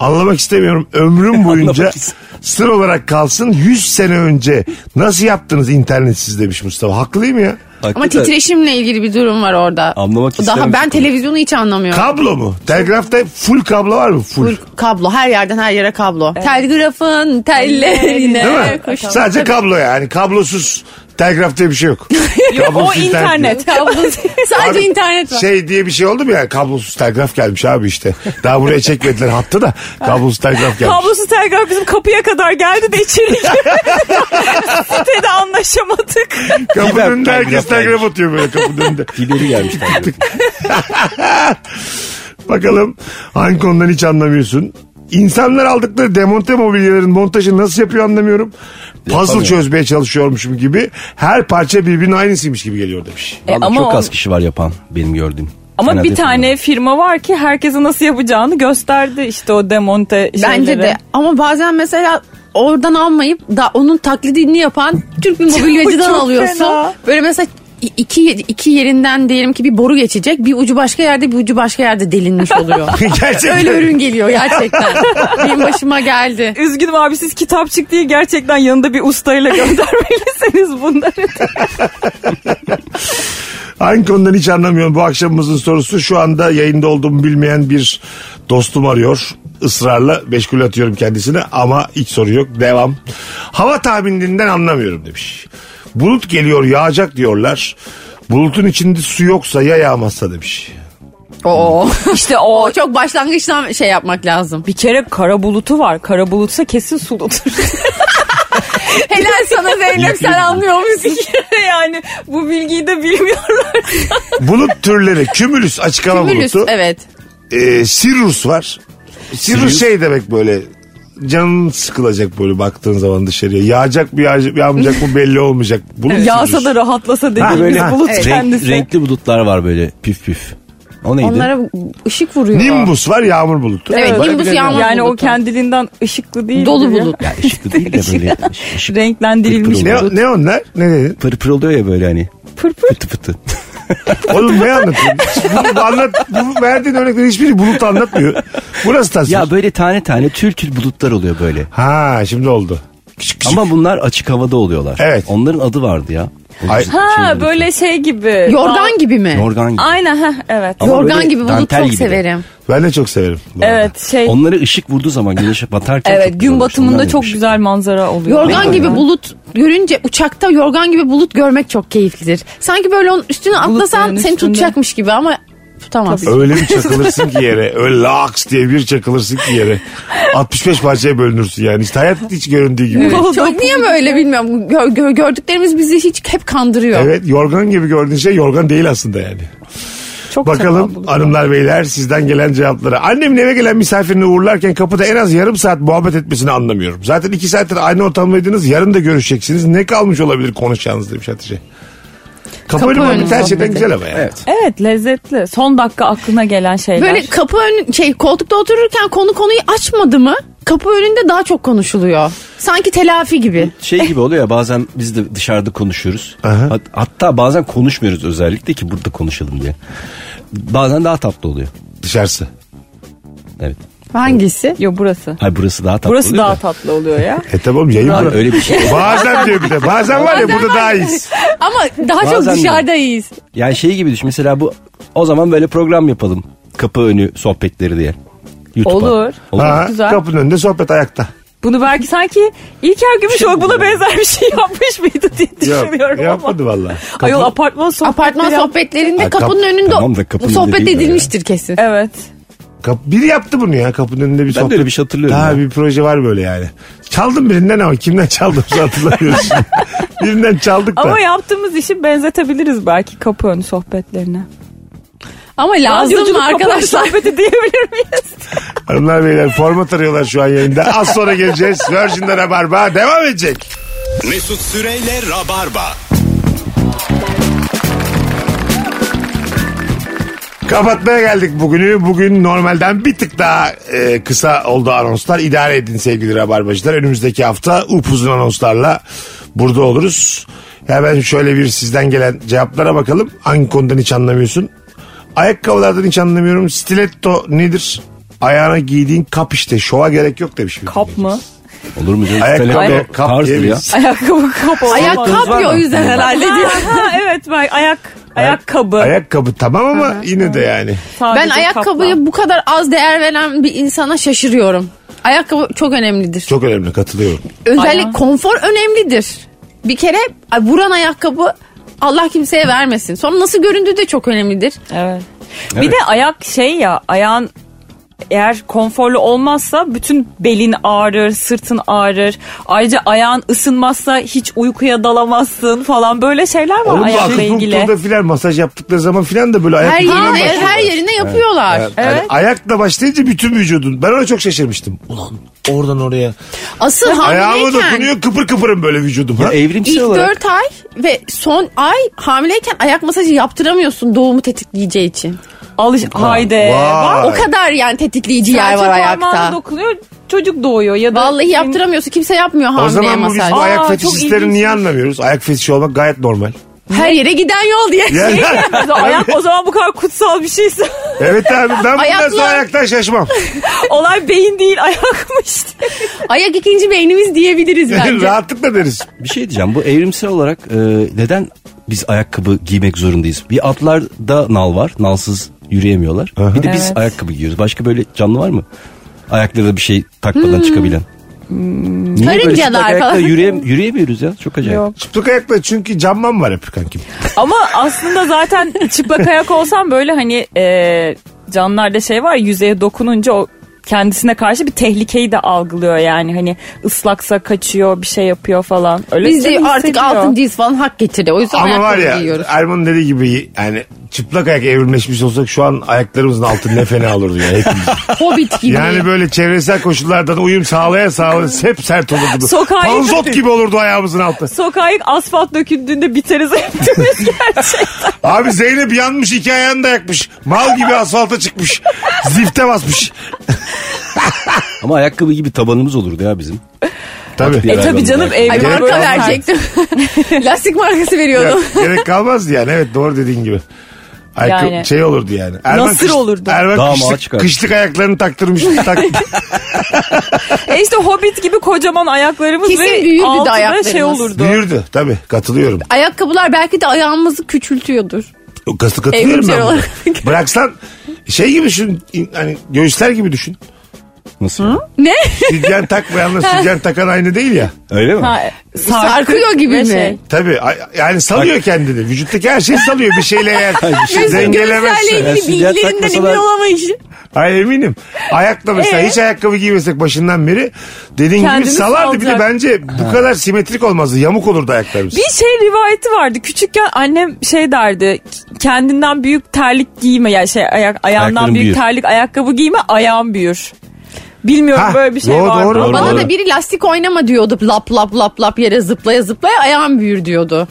A: Anlamak istemiyorum. Ömrüm boyunca
C: Anlamak ist-
A: sır olarak kalsın. 100 sene önce nasıl yaptınız internetsiz demiş Mustafa. Haklıyım ya.
B: Ama titreşimle ilgili bir durum var orada.
C: Anlamak
B: Daha
C: istememiş
B: ben
C: konu.
B: televizyonu hiç anlamıyorum.
A: Kablo mu? Telgrafta full kablo var mı? Full.
B: Full kablo her yerden her yere kablo. Telgrafın tellerine.
A: Değil mi? Sadece kablo yani. Kablosuz telgraf diye bir şey yok.
D: Yok o
A: Kablosuz
D: internet.
B: Kablo- Sadece
A: Abi,
B: internet var.
A: Şey diye bir şey oldu mu ya? Kablosuz telgraf gelmiş abi işte. Daha buraya çekmediler hattı da kablosuz telgraf gelmiş.
D: Kablosuz telgraf bizim kapıya kadar geldi de içeri girdi. Sitede anlaşamadık.
A: Kapının
C: Fiber
A: önünde herkes
C: telgraf
A: telgraf atıyor böyle kapının önünde.
C: Fiberi gelmiş tabii.
D: E,
A: Bakalım hangi konudan hiç anlamıyorsun? İnsanlar aldıkları demonte mobilyaların montajını nasıl yapıyor anlamıyorum. Puzzle
C: Yapamıyor.
A: çözmeye çalışıyormuşum gibi. Her parça birbirinin aynısıymış gibi geliyor demiş.
D: E,
C: Vallahi
D: ama
C: çok
D: o-
C: az kişi var yapan benim gördüğüm.
D: Ama
C: Fena
D: bir
C: değil
D: tane firma var ki herkese nasıl yapacağını gösterdi işte o demonte şeyleri.
B: Bence de ama bazen mesela oradan almayıp da onun taklidini yapan Türk bir mobilyacıdan
D: Çok
B: alıyorsun.
D: fena.
B: Böyle mesela i- iki, iki yerinden diyelim ki bir boru geçecek. Bir ucu başka yerde bir ucu başka yerde delinmiş oluyor.
A: Gerçekten.
B: Öyle ürün geliyor gerçekten. Benim başıma geldi.
D: Üzgünüm abi siz kitapçık diye gerçekten yanında bir ustayla göndermelisiniz bunları.
A: Hangi konudan hiç anlamıyorum. Bu akşamımızın sorusu şu anda yayında olduğumu bilmeyen bir dostum arıyor. Israrla meşgul atıyorum kendisine ama hiç soru yok. Devam. Hava tahmininden anlamıyorum demiş. Bulut geliyor yağacak diyorlar. Bulutun içinde su yoksa ya yağmazsa demiş.
B: Oo.
D: İşte o
B: Hmm. O çok başlangıçtan şey yapmak lazım.
D: bir kere kara bulutu var. Kara bulutsa kesin suludur.
B: Helal sana Zeynep sen anlıyormuşsun.
D: yani bu bilgiyi de bilmiyorlar.
A: Bulut türleri kümülüs açık hava
B: Kümülüs
A: bulutu.
B: evet.
A: Ee, sirrus var. Sirrus,
C: Sirrus?
A: şey demek böyle canın sıkılacak böyle baktığın zaman dışarıya. Yağacak mı yağacak, yağmayacak mı belli olmayacak. Bulut sirrus.
D: Yağsa da rahatlasa dediğimiz
A: böyle-
D: bulut
C: Renk-
D: kendisi.
C: renkli bulutlar var böyle püf püf. O neydi?
B: Onlara ışık vuruyor.
A: Nimbus var yağmur bulutu.
B: Evet,
C: Bana
B: nimbus
C: bile-
B: yağmur
D: Yani o
B: bulutu.
D: kendiliğinden ışıklı değil.
B: Dolu bulut.
C: Ya ışıklı değil de böyle ış- ışık
D: Renklendirilmiş
C: Kıpır
A: Ne,
C: kıpır.
D: bulut.
A: ne onlar? Ne dedin?
C: pır pır oluyor ya böyle hani.
D: Pırpır.
C: Fıtı fıtı.
A: Oğlum ne anlatıyorsun? Bunu anlat, bu verdiğin örneklerin hiçbiri bulut anlatmıyor. Bu nasıl tasvir?
C: ya böyle tane tane tül tül bulutlar oluyor böyle.
A: Ha şimdi oldu. Küçük küçük.
C: Ama bunlar açık havada oluyorlar.
A: Evet.
C: Onların adı vardı ya. O
A: Ay-
C: bizim
D: Ha
C: şeylerin-
D: böyle şey gibi.
B: Yorgan gibi mi?
C: Yorgan gibi.
D: Aynen ha evet.
C: Ama böyle
B: Yorgan gibi bunu
C: dantel
B: çok
C: gibi de.
B: severim.
A: Ben de çok severim. bu arada.
D: Evet şey.
C: Onları ışık vurduğu zaman güneş batarken çok
D: evet
C: güzel
D: gün
C: olmuş. Onlar
D: batımında çok
C: demiş.
D: güzel manzara oluyor.
B: Yorgan
C: Aynen.
B: gibi bulut görünce uçakta yorgan gibi bulut görmek çok keyiflidir. Sanki böyle onun üstüne atlasan
D: Bulutların
B: seni
D: üstünde.
B: tutacakmış gibi ama tutamazsın.
A: Öyle bir çakılırsın ki yere. Öyle laks diye bir çakılırsın ki yere. 65 parçaya bölünürsün yani. İşte hayat hiç göründüğü gibi. değil.
B: Çok niye böyle bilmiyorum. Gör- gör- gördüklerimiz bizi hiç hep kandırıyor.
A: Evet yorgan gibi gördüğün şey yorgan değil aslında yani.
D: Çok
A: Bakalım hanımlar beyler sizden gelen cevaplara. Annemin eve gelen misafirini uğurlarken kapıda en az yarım saat muhabbet etmesini anlamıyorum. Zaten iki saattir aynı ortamdaydınız yarın da görüşeceksiniz. Ne kalmış olabilir konuşacağınız demiş Hatice. Kapı,
B: Kapı
A: önü
B: önü
A: muhabbeti her şeyden
B: muhabbeti.
A: güzel ama yani.
D: Evet lezzetli. Son dakika aklına gelen şeyler.
B: Böyle kapı önü şey koltukta otururken konu konuyu açmadı mı? Kapı önünde daha çok konuşuluyor. Sanki telafi gibi.
C: şey gibi oluyor ya bazen biz de dışarıda konuşuyoruz.
A: Aha.
C: Hat- hatta bazen konuşmuyoruz özellikle ki burada konuşalım diye. Bazen daha tatlı oluyor.
A: Dışarısı.
C: Evet.
B: Hangisi?
D: Yo burası.
C: Hayır burası daha tatlı
D: Burası
C: oluyor
D: daha
C: da.
D: tatlı oluyor ya.
A: E tabi oğlum yayın
C: Hayır,
A: bura-
C: öyle bir şey.
A: Bazen diyor bir de. Bazen var ya burada daha iyiyiz.
B: Ama daha
C: Bazen
B: çok
C: de.
B: dışarıdayız.
C: Yani şey gibi düşün mesela bu o zaman böyle program yapalım. Kapı önü sohbetleri diye. YouTube'a.
D: Olur.
A: Ha,
D: Güzel.
A: kapının önünde sohbet ayakta.
D: Bunu belki sanki İlker Gümüşoluk buna benzer bir şey yapmış mıydı diye düşünüyorum
A: Yok,
D: ama.
A: yapmadı valla.
D: Ayol apartman sohbetleri.
B: Apartman sohbetlerinde
C: Ha, kap-
B: kapının önünde
C: tamam da kapının
B: sohbet
C: önünde değil de
B: edilmiştir kesin.
D: Evet.
A: Kap, biri yaptı bunu ya kapının önünde bir
C: Ben de
A: sohbet.
C: öyle bir şey hatırlıyorum
A: Ha
C: ya.
A: bir proje var böyle yani. Çaldım birinden ama kimden çaldığımızı hatırlamıyoruz. şimdi. birinden çaldık da.
D: Ama yaptığımız işi benzetebiliriz belki kapı önü sohbetlerine.
B: Ama lazım
D: Radyoculuk
B: mı
D: kapı önü
B: arkadaşlar?
D: sohbeti diyebilir miyiz?
A: Hanımlar beyler format arıyorlar şu an yayında. Az sonra geleceğiz. Virgin'de Rabarba devam edecek.
E: Mesut Süreyle Rabarba.
A: Kapatmaya geldik bugünü. Bugün normalden bir tık daha e, kısa oldu anonslar. İdare edin sevgili Rabarbacılar. Önümüzdeki hafta upuzun anonslarla burada oluruz. Hemen şöyle bir sizden gelen cevaplara bakalım. Hangi konudan hiç anlamıyorsun? Ayakkabılardan hiç anlamıyorum. Stiletto nedir? Ayağına giydiğin kap işte. Şova gerek yok demiş. bir
D: Kap mı?
C: Olur mu canım?
A: Ayakkabı
C: Stiletto
A: kap
C: tarzdır ya.
A: diyemeyiz.
D: Ayakkabı kap olmaz.
B: Ayak kapıyor o yüzden herhalde diyor.
D: Ha, evet bak ayak ayakkabı.
A: Ayakkabı tamam ama yine de yani.
D: Sadece
B: Ben ayakkabıya
D: kapla.
B: bu kadar az değer veren bir insana şaşırıyorum. Ayakkabı çok önemlidir.
A: Çok önemli katılıyorum.
B: Özellikle
D: Ayağı.
B: konfor önemlidir. Bir kere ay, vuran ayakkabı Allah kimseye vermesin. Sonra nasıl göründüğü de çok önemlidir.
D: Evet.
C: Evet.
D: Bir de ayak şey ya ayağın eğer konforlu olmazsa bütün belin ağrır, sırtın ağrır. Ayrıca ayağın ısınmazsa hiç uykuya dalamazsın falan böyle şeyler var
A: Oğlum bu
D: ayakla ilgili.
A: akupunkturda filan masaj yaptıkları zaman filan da böyle ayak
B: Her
A: ucundan
B: yerine,
A: başlıyorlar.
B: her yerine yapıyorlar.
A: Yani ayakla başlayınca bütün vücudun. Ben ona çok şaşırmıştım. Ulan oradan oraya.
B: Asıl
A: Ayağıma
B: hamileyken
A: dokunuyor kıpır kıpırım böyle vücudum.
C: Ya
A: Ha?
C: evrimsel
B: ilk
C: olarak.
B: 4 ay ve son ay hamileyken ayak masajı yaptıramıyorsun doğumu tetikleyeceği için.
D: Alış haydi.
A: Vay.
D: Bak,
B: O kadar yani tetikleyici yer
D: sadece
B: var
D: parmağına
B: ayakta.
D: dokunuyor çocuk doğuyor ya da
B: Vallahi yaptıramıyorsun. Kimse yapmıyor
A: O
B: hamileye
A: zaman bu biz
B: masaj.
A: bu ayak
D: Aa, çok
A: fetişistlerini niye
D: ilginçmiş.
A: anlamıyoruz? Ayak fetişi olmak gayet normal.
B: Her yere giden yol diye.
A: Yani-
D: O zaman ayak o zaman bu kadar kutsal bir şeyse
A: evet abi ben bundan sonra
B: Ayaklar-
A: ayaktan şaşmam.
D: olay beyin değil ayakmış diye.
B: Ayak ikinci beynimiz diyebiliriz bence.
A: Rahatlıkla deriz.
C: Bir şey diyeceğim bu evrimsel olarak e, neden biz ayakkabı giymek zorundayız? Bir atlarda nal var nalsız yürüyemiyorlar. Bir de biz
D: Evet.
C: ayakkabı giyiyoruz. Başka böyle canlı var mı? Ayaklarına bir şey
D: Hmm.
C: takmadan çıkabilen. Niye böyle
B: Karıncalar
C: çıplak ayakla
B: falan.
C: yürüyem- yürüyemiyoruz ya çok acayip.
D: Yok.
A: Çıplak ayakla çünkü canman var hep kankim.
D: Ama aslında zaten çıplak ayak olsam böyle hani e, canlılarda şey var yüzeye dokununca o kendisine karşı bir tehlikeyi de algılıyor yani hani ıslaksa kaçıyor bir şey yapıyor falan. Öyle şey
B: Biz de
D: canı
B: artık
D: hissediyor.
B: altındayız falan hak getirdi. O yüzden
A: Ama var
B: ayakkabı
A: ya
B: giyiyoruz.
A: Erman'ın dediği gibi yani çıplak ayak evrimleşmiş olsak şu an ayaklarımızın altı ne fena olurdu yani hepimiz.
B: Hobbit gibi.
A: Yani böyle çevresel koşullardan uyum sağlaya sağlaya hep sert olurdu.
D: Sokağa
A: Panzot
D: yakın-
A: gibi olurdu ayağımızın altı.
D: Sokağa ilk asfalt döküldüğünde biteriz hepimiz gerçekten.
A: Abi Zeynep yanmış iki ayağını da yakmış. Mal gibi asfalta çıkmış. Zifte basmış.
C: Ama ayakkabı gibi tabanımız olurdu ya bizim.
A: Tabii.
C: E
D: E tabii canım
B: Ay,
D: evde
B: marka
D: böyle-
B: verecektim. Lastik markası veriyordum.
A: Ya, gerek kalmazdı yani evet doğru dediğin gibi. Ayakkabı
D: Yani.
A: şey olurdu yani.
D: Nasır olurdu.
A: Erman
C: Damağa
A: kışlık,
C: çıkar.
A: kışlık ayaklarını taktırmış. tak,
D: E işte Hobbit gibi kocaman ayaklarımız
B: Kesin
D: ve
B: büyürdü de
D: altına
B: ayaklarımız.
D: şey olurdu.
A: büyürdü tabii katılıyorum.
B: Ayakkabılar belki de ayağımızı küçültüyordur.
A: O Katı katılıyorum
B: Evrimsel
A: ben.
B: olarak.
A: buna. Bıraksan şey gibi düşün in- hani göğüsler gibi düşün.
C: Nasıl?
B: Ne?
A: Sütyen takmayanla sütyen takan aynı değil ya.
C: Öyle mi?
D: Ha,
B: Sarkıyor gibi
D: ve
B: mi?
D: şey.
A: Tabii ay- yani salıyor kendini. Vücuttaki her şeyi salıyor bir şey şeyle eğer dengelemezse.
B: Gözlerle ilgili
C: Lastikler
B: bilgilerinden
C: takmasalar-
B: emin olamayışım.
A: Ay eminim. Ayakla mesela
D: Ee?
A: hiç ayakkabı giymesek başından beri dediğin
D: Kendini
A: gibi salardı. Bir de
D: salacak.
A: bence bu kadar simetrik olmazdı. Yamuk olurdu ayaklarımız.
D: Bir şey rivayeti vardı. Küçükken annem şey derdi. Kendinden büyük terlik giyme. Yani şey ayak, ayağından
C: Ayakların
D: büyük
C: büyür.
D: terlik ayakkabı giyme ayağın büyür. Bilmiyorum
A: Ha,
D: böyle bir şey
A: doğru,
D: var mı?
A: doğru.
C: Doğru,
B: Bana
C: doğru.
B: da biri lastik oynama diyordu. Lap lap lap lap yere zıplaya zıplaya ayağım büyür diyordu.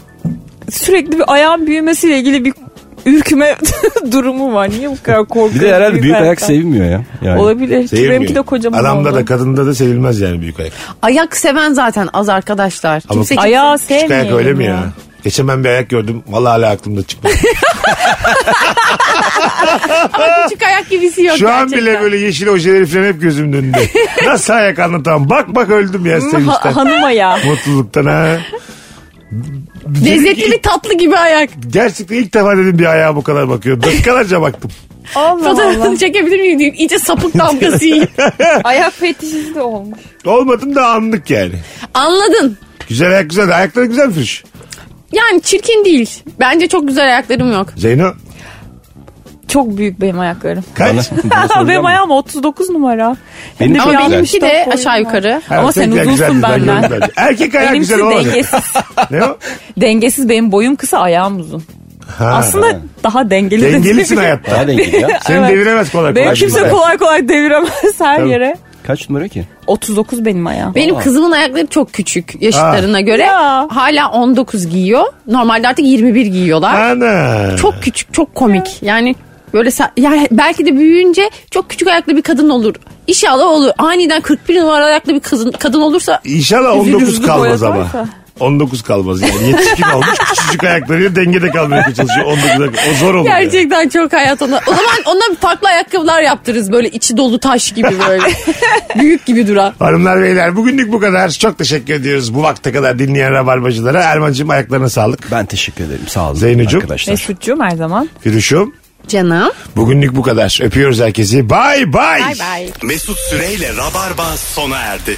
D: Sürekli bir ayağın büyümesiyle ilgili bir ürküme durumu var. Niye bu kadar korkuyorsun?
C: Bir de herhalde büyük ayak
D: ayaktan?
C: sevmiyor ya. Yani.
D: Olabilir.
A: Sevmiyor.
D: Benimki de kocaman
A: Adamda
D: oldu.
A: da kadında da sevilmez yani büyük ayak.
B: Ayak seven zaten az arkadaşlar.
A: Ama
B: Kimse
D: Ayağı
A: Küçük
D: sevmiyor.
A: ayak öyle mi ya? Geçen ben bir ayak gördüm. Vallahi hala aklımda çıkmadı.
B: küçük ayak gibisi yok
A: Şu an
B: gerçekten.
A: bile böyle yeşil ojeleri falan hep gözümün önünde. Nasıl ayak anlatamam. Bak bak öldüm ya
D: Ha-
A: sevinçten.
D: hanım ayağı.
A: Mutluluktan ha.
B: Lezzetli ve tatlı gibi ayak.
A: Gerçekten ilk defa dedim bir ayağa bu kadar bakıyor. Dakikalarca baktım.
D: Allah
B: Fotoğrafını çekebilir miyim diyeyim. İyice sapık damgası yiyeyim.
D: Ayak fetişizi de olmuş.
A: Olmadım da anlık yani.
B: Anladın.
A: Güzel ayak güzel. Ayakları güzel Firuş.
B: Yani çirkin değil. Bence çok güzel ayaklarım yok.
A: Zeyno
D: Çok büyük benim ayaklarım.
C: Bana-
A: kaç?
C: bana soracağım
D: benim
C: mı?
D: ayağım 39 numara.
C: Benim
D: Hem de
C: çok
D: bir
B: Ama
C: güzel.
D: yanlış
B: benimki de
D: top
B: aşağı
D: boyum var.
B: yukarı.
D: Ama
A: Erkekler
D: sen
A: güzel
D: uzunsun
A: dizler görüyorum
D: benden.
A: bence. Erkek ayağı
D: Benimkisi
A: güzel olamaz.
D: dengesiz.
A: Ne o?
D: dengesiz benim boyum kısa ayağım uzun.
A: Ha.
D: Aslında daha dengeli. de
A: Dengelisin
D: diyebilirim.
A: hayatta.
C: Daha dengeli ya.
A: Seni
D: Evet.
A: deviremez kolay kolay.
D: Benim kimse
A: Bak.
D: kolay kolay deviremez her
A: Tabii.
D: yere.
C: Kaç numara ki?
D: 39 benim ayağım.
B: Benim kızımın ayakları çok küçük yaşıtlarına göre.
D: Ya.
B: Hala 19 giyiyor. Normalde artık 21 giyiyorlar.
A: Ana.
B: Çok küçük, çok komik. Yani böyle sa- yani belki de büyüyünce çok küçük ayaklı bir kadın olur. İnşallah olur. Aniden 41 numaralı ayaklı bir kızın, kadın olursa
A: İnşallah
D: Üzülürüz
A: 19
D: bu
A: kalmaz
D: boya
A: ama.
D: koysa.
A: 19 kalmaz yani. Yetişkin olmuş küçücük ayaklarıyla dengede kalmaya çalışıyor. 19 dakika. O zor olur. yani.
B: gerçekten çok hayat ona. O zaman ona farklı ayakkabılar yaptırırız böyle içi dolu taş gibi böyle. Büyük gibi duran.
A: Hanımlar beyler bugünlük bu kadar. Çok teşekkür ediyoruz bu vakte kadar dinleyen rabarbacılara. Erman'cığım ayaklarına sağlık.
C: Ben teşekkür ederim. Sağ olun
A: Zeynocuğum.
C: arkadaşlar.
D: Mesutcuğum her zaman.
A: Firuş'um
B: Canım.
A: bugünlük bu kadar. Öpüyoruz herkesi. Bay bay.
B: Bay bay.
E: Mesut Süreyle Rabarba sona erdi.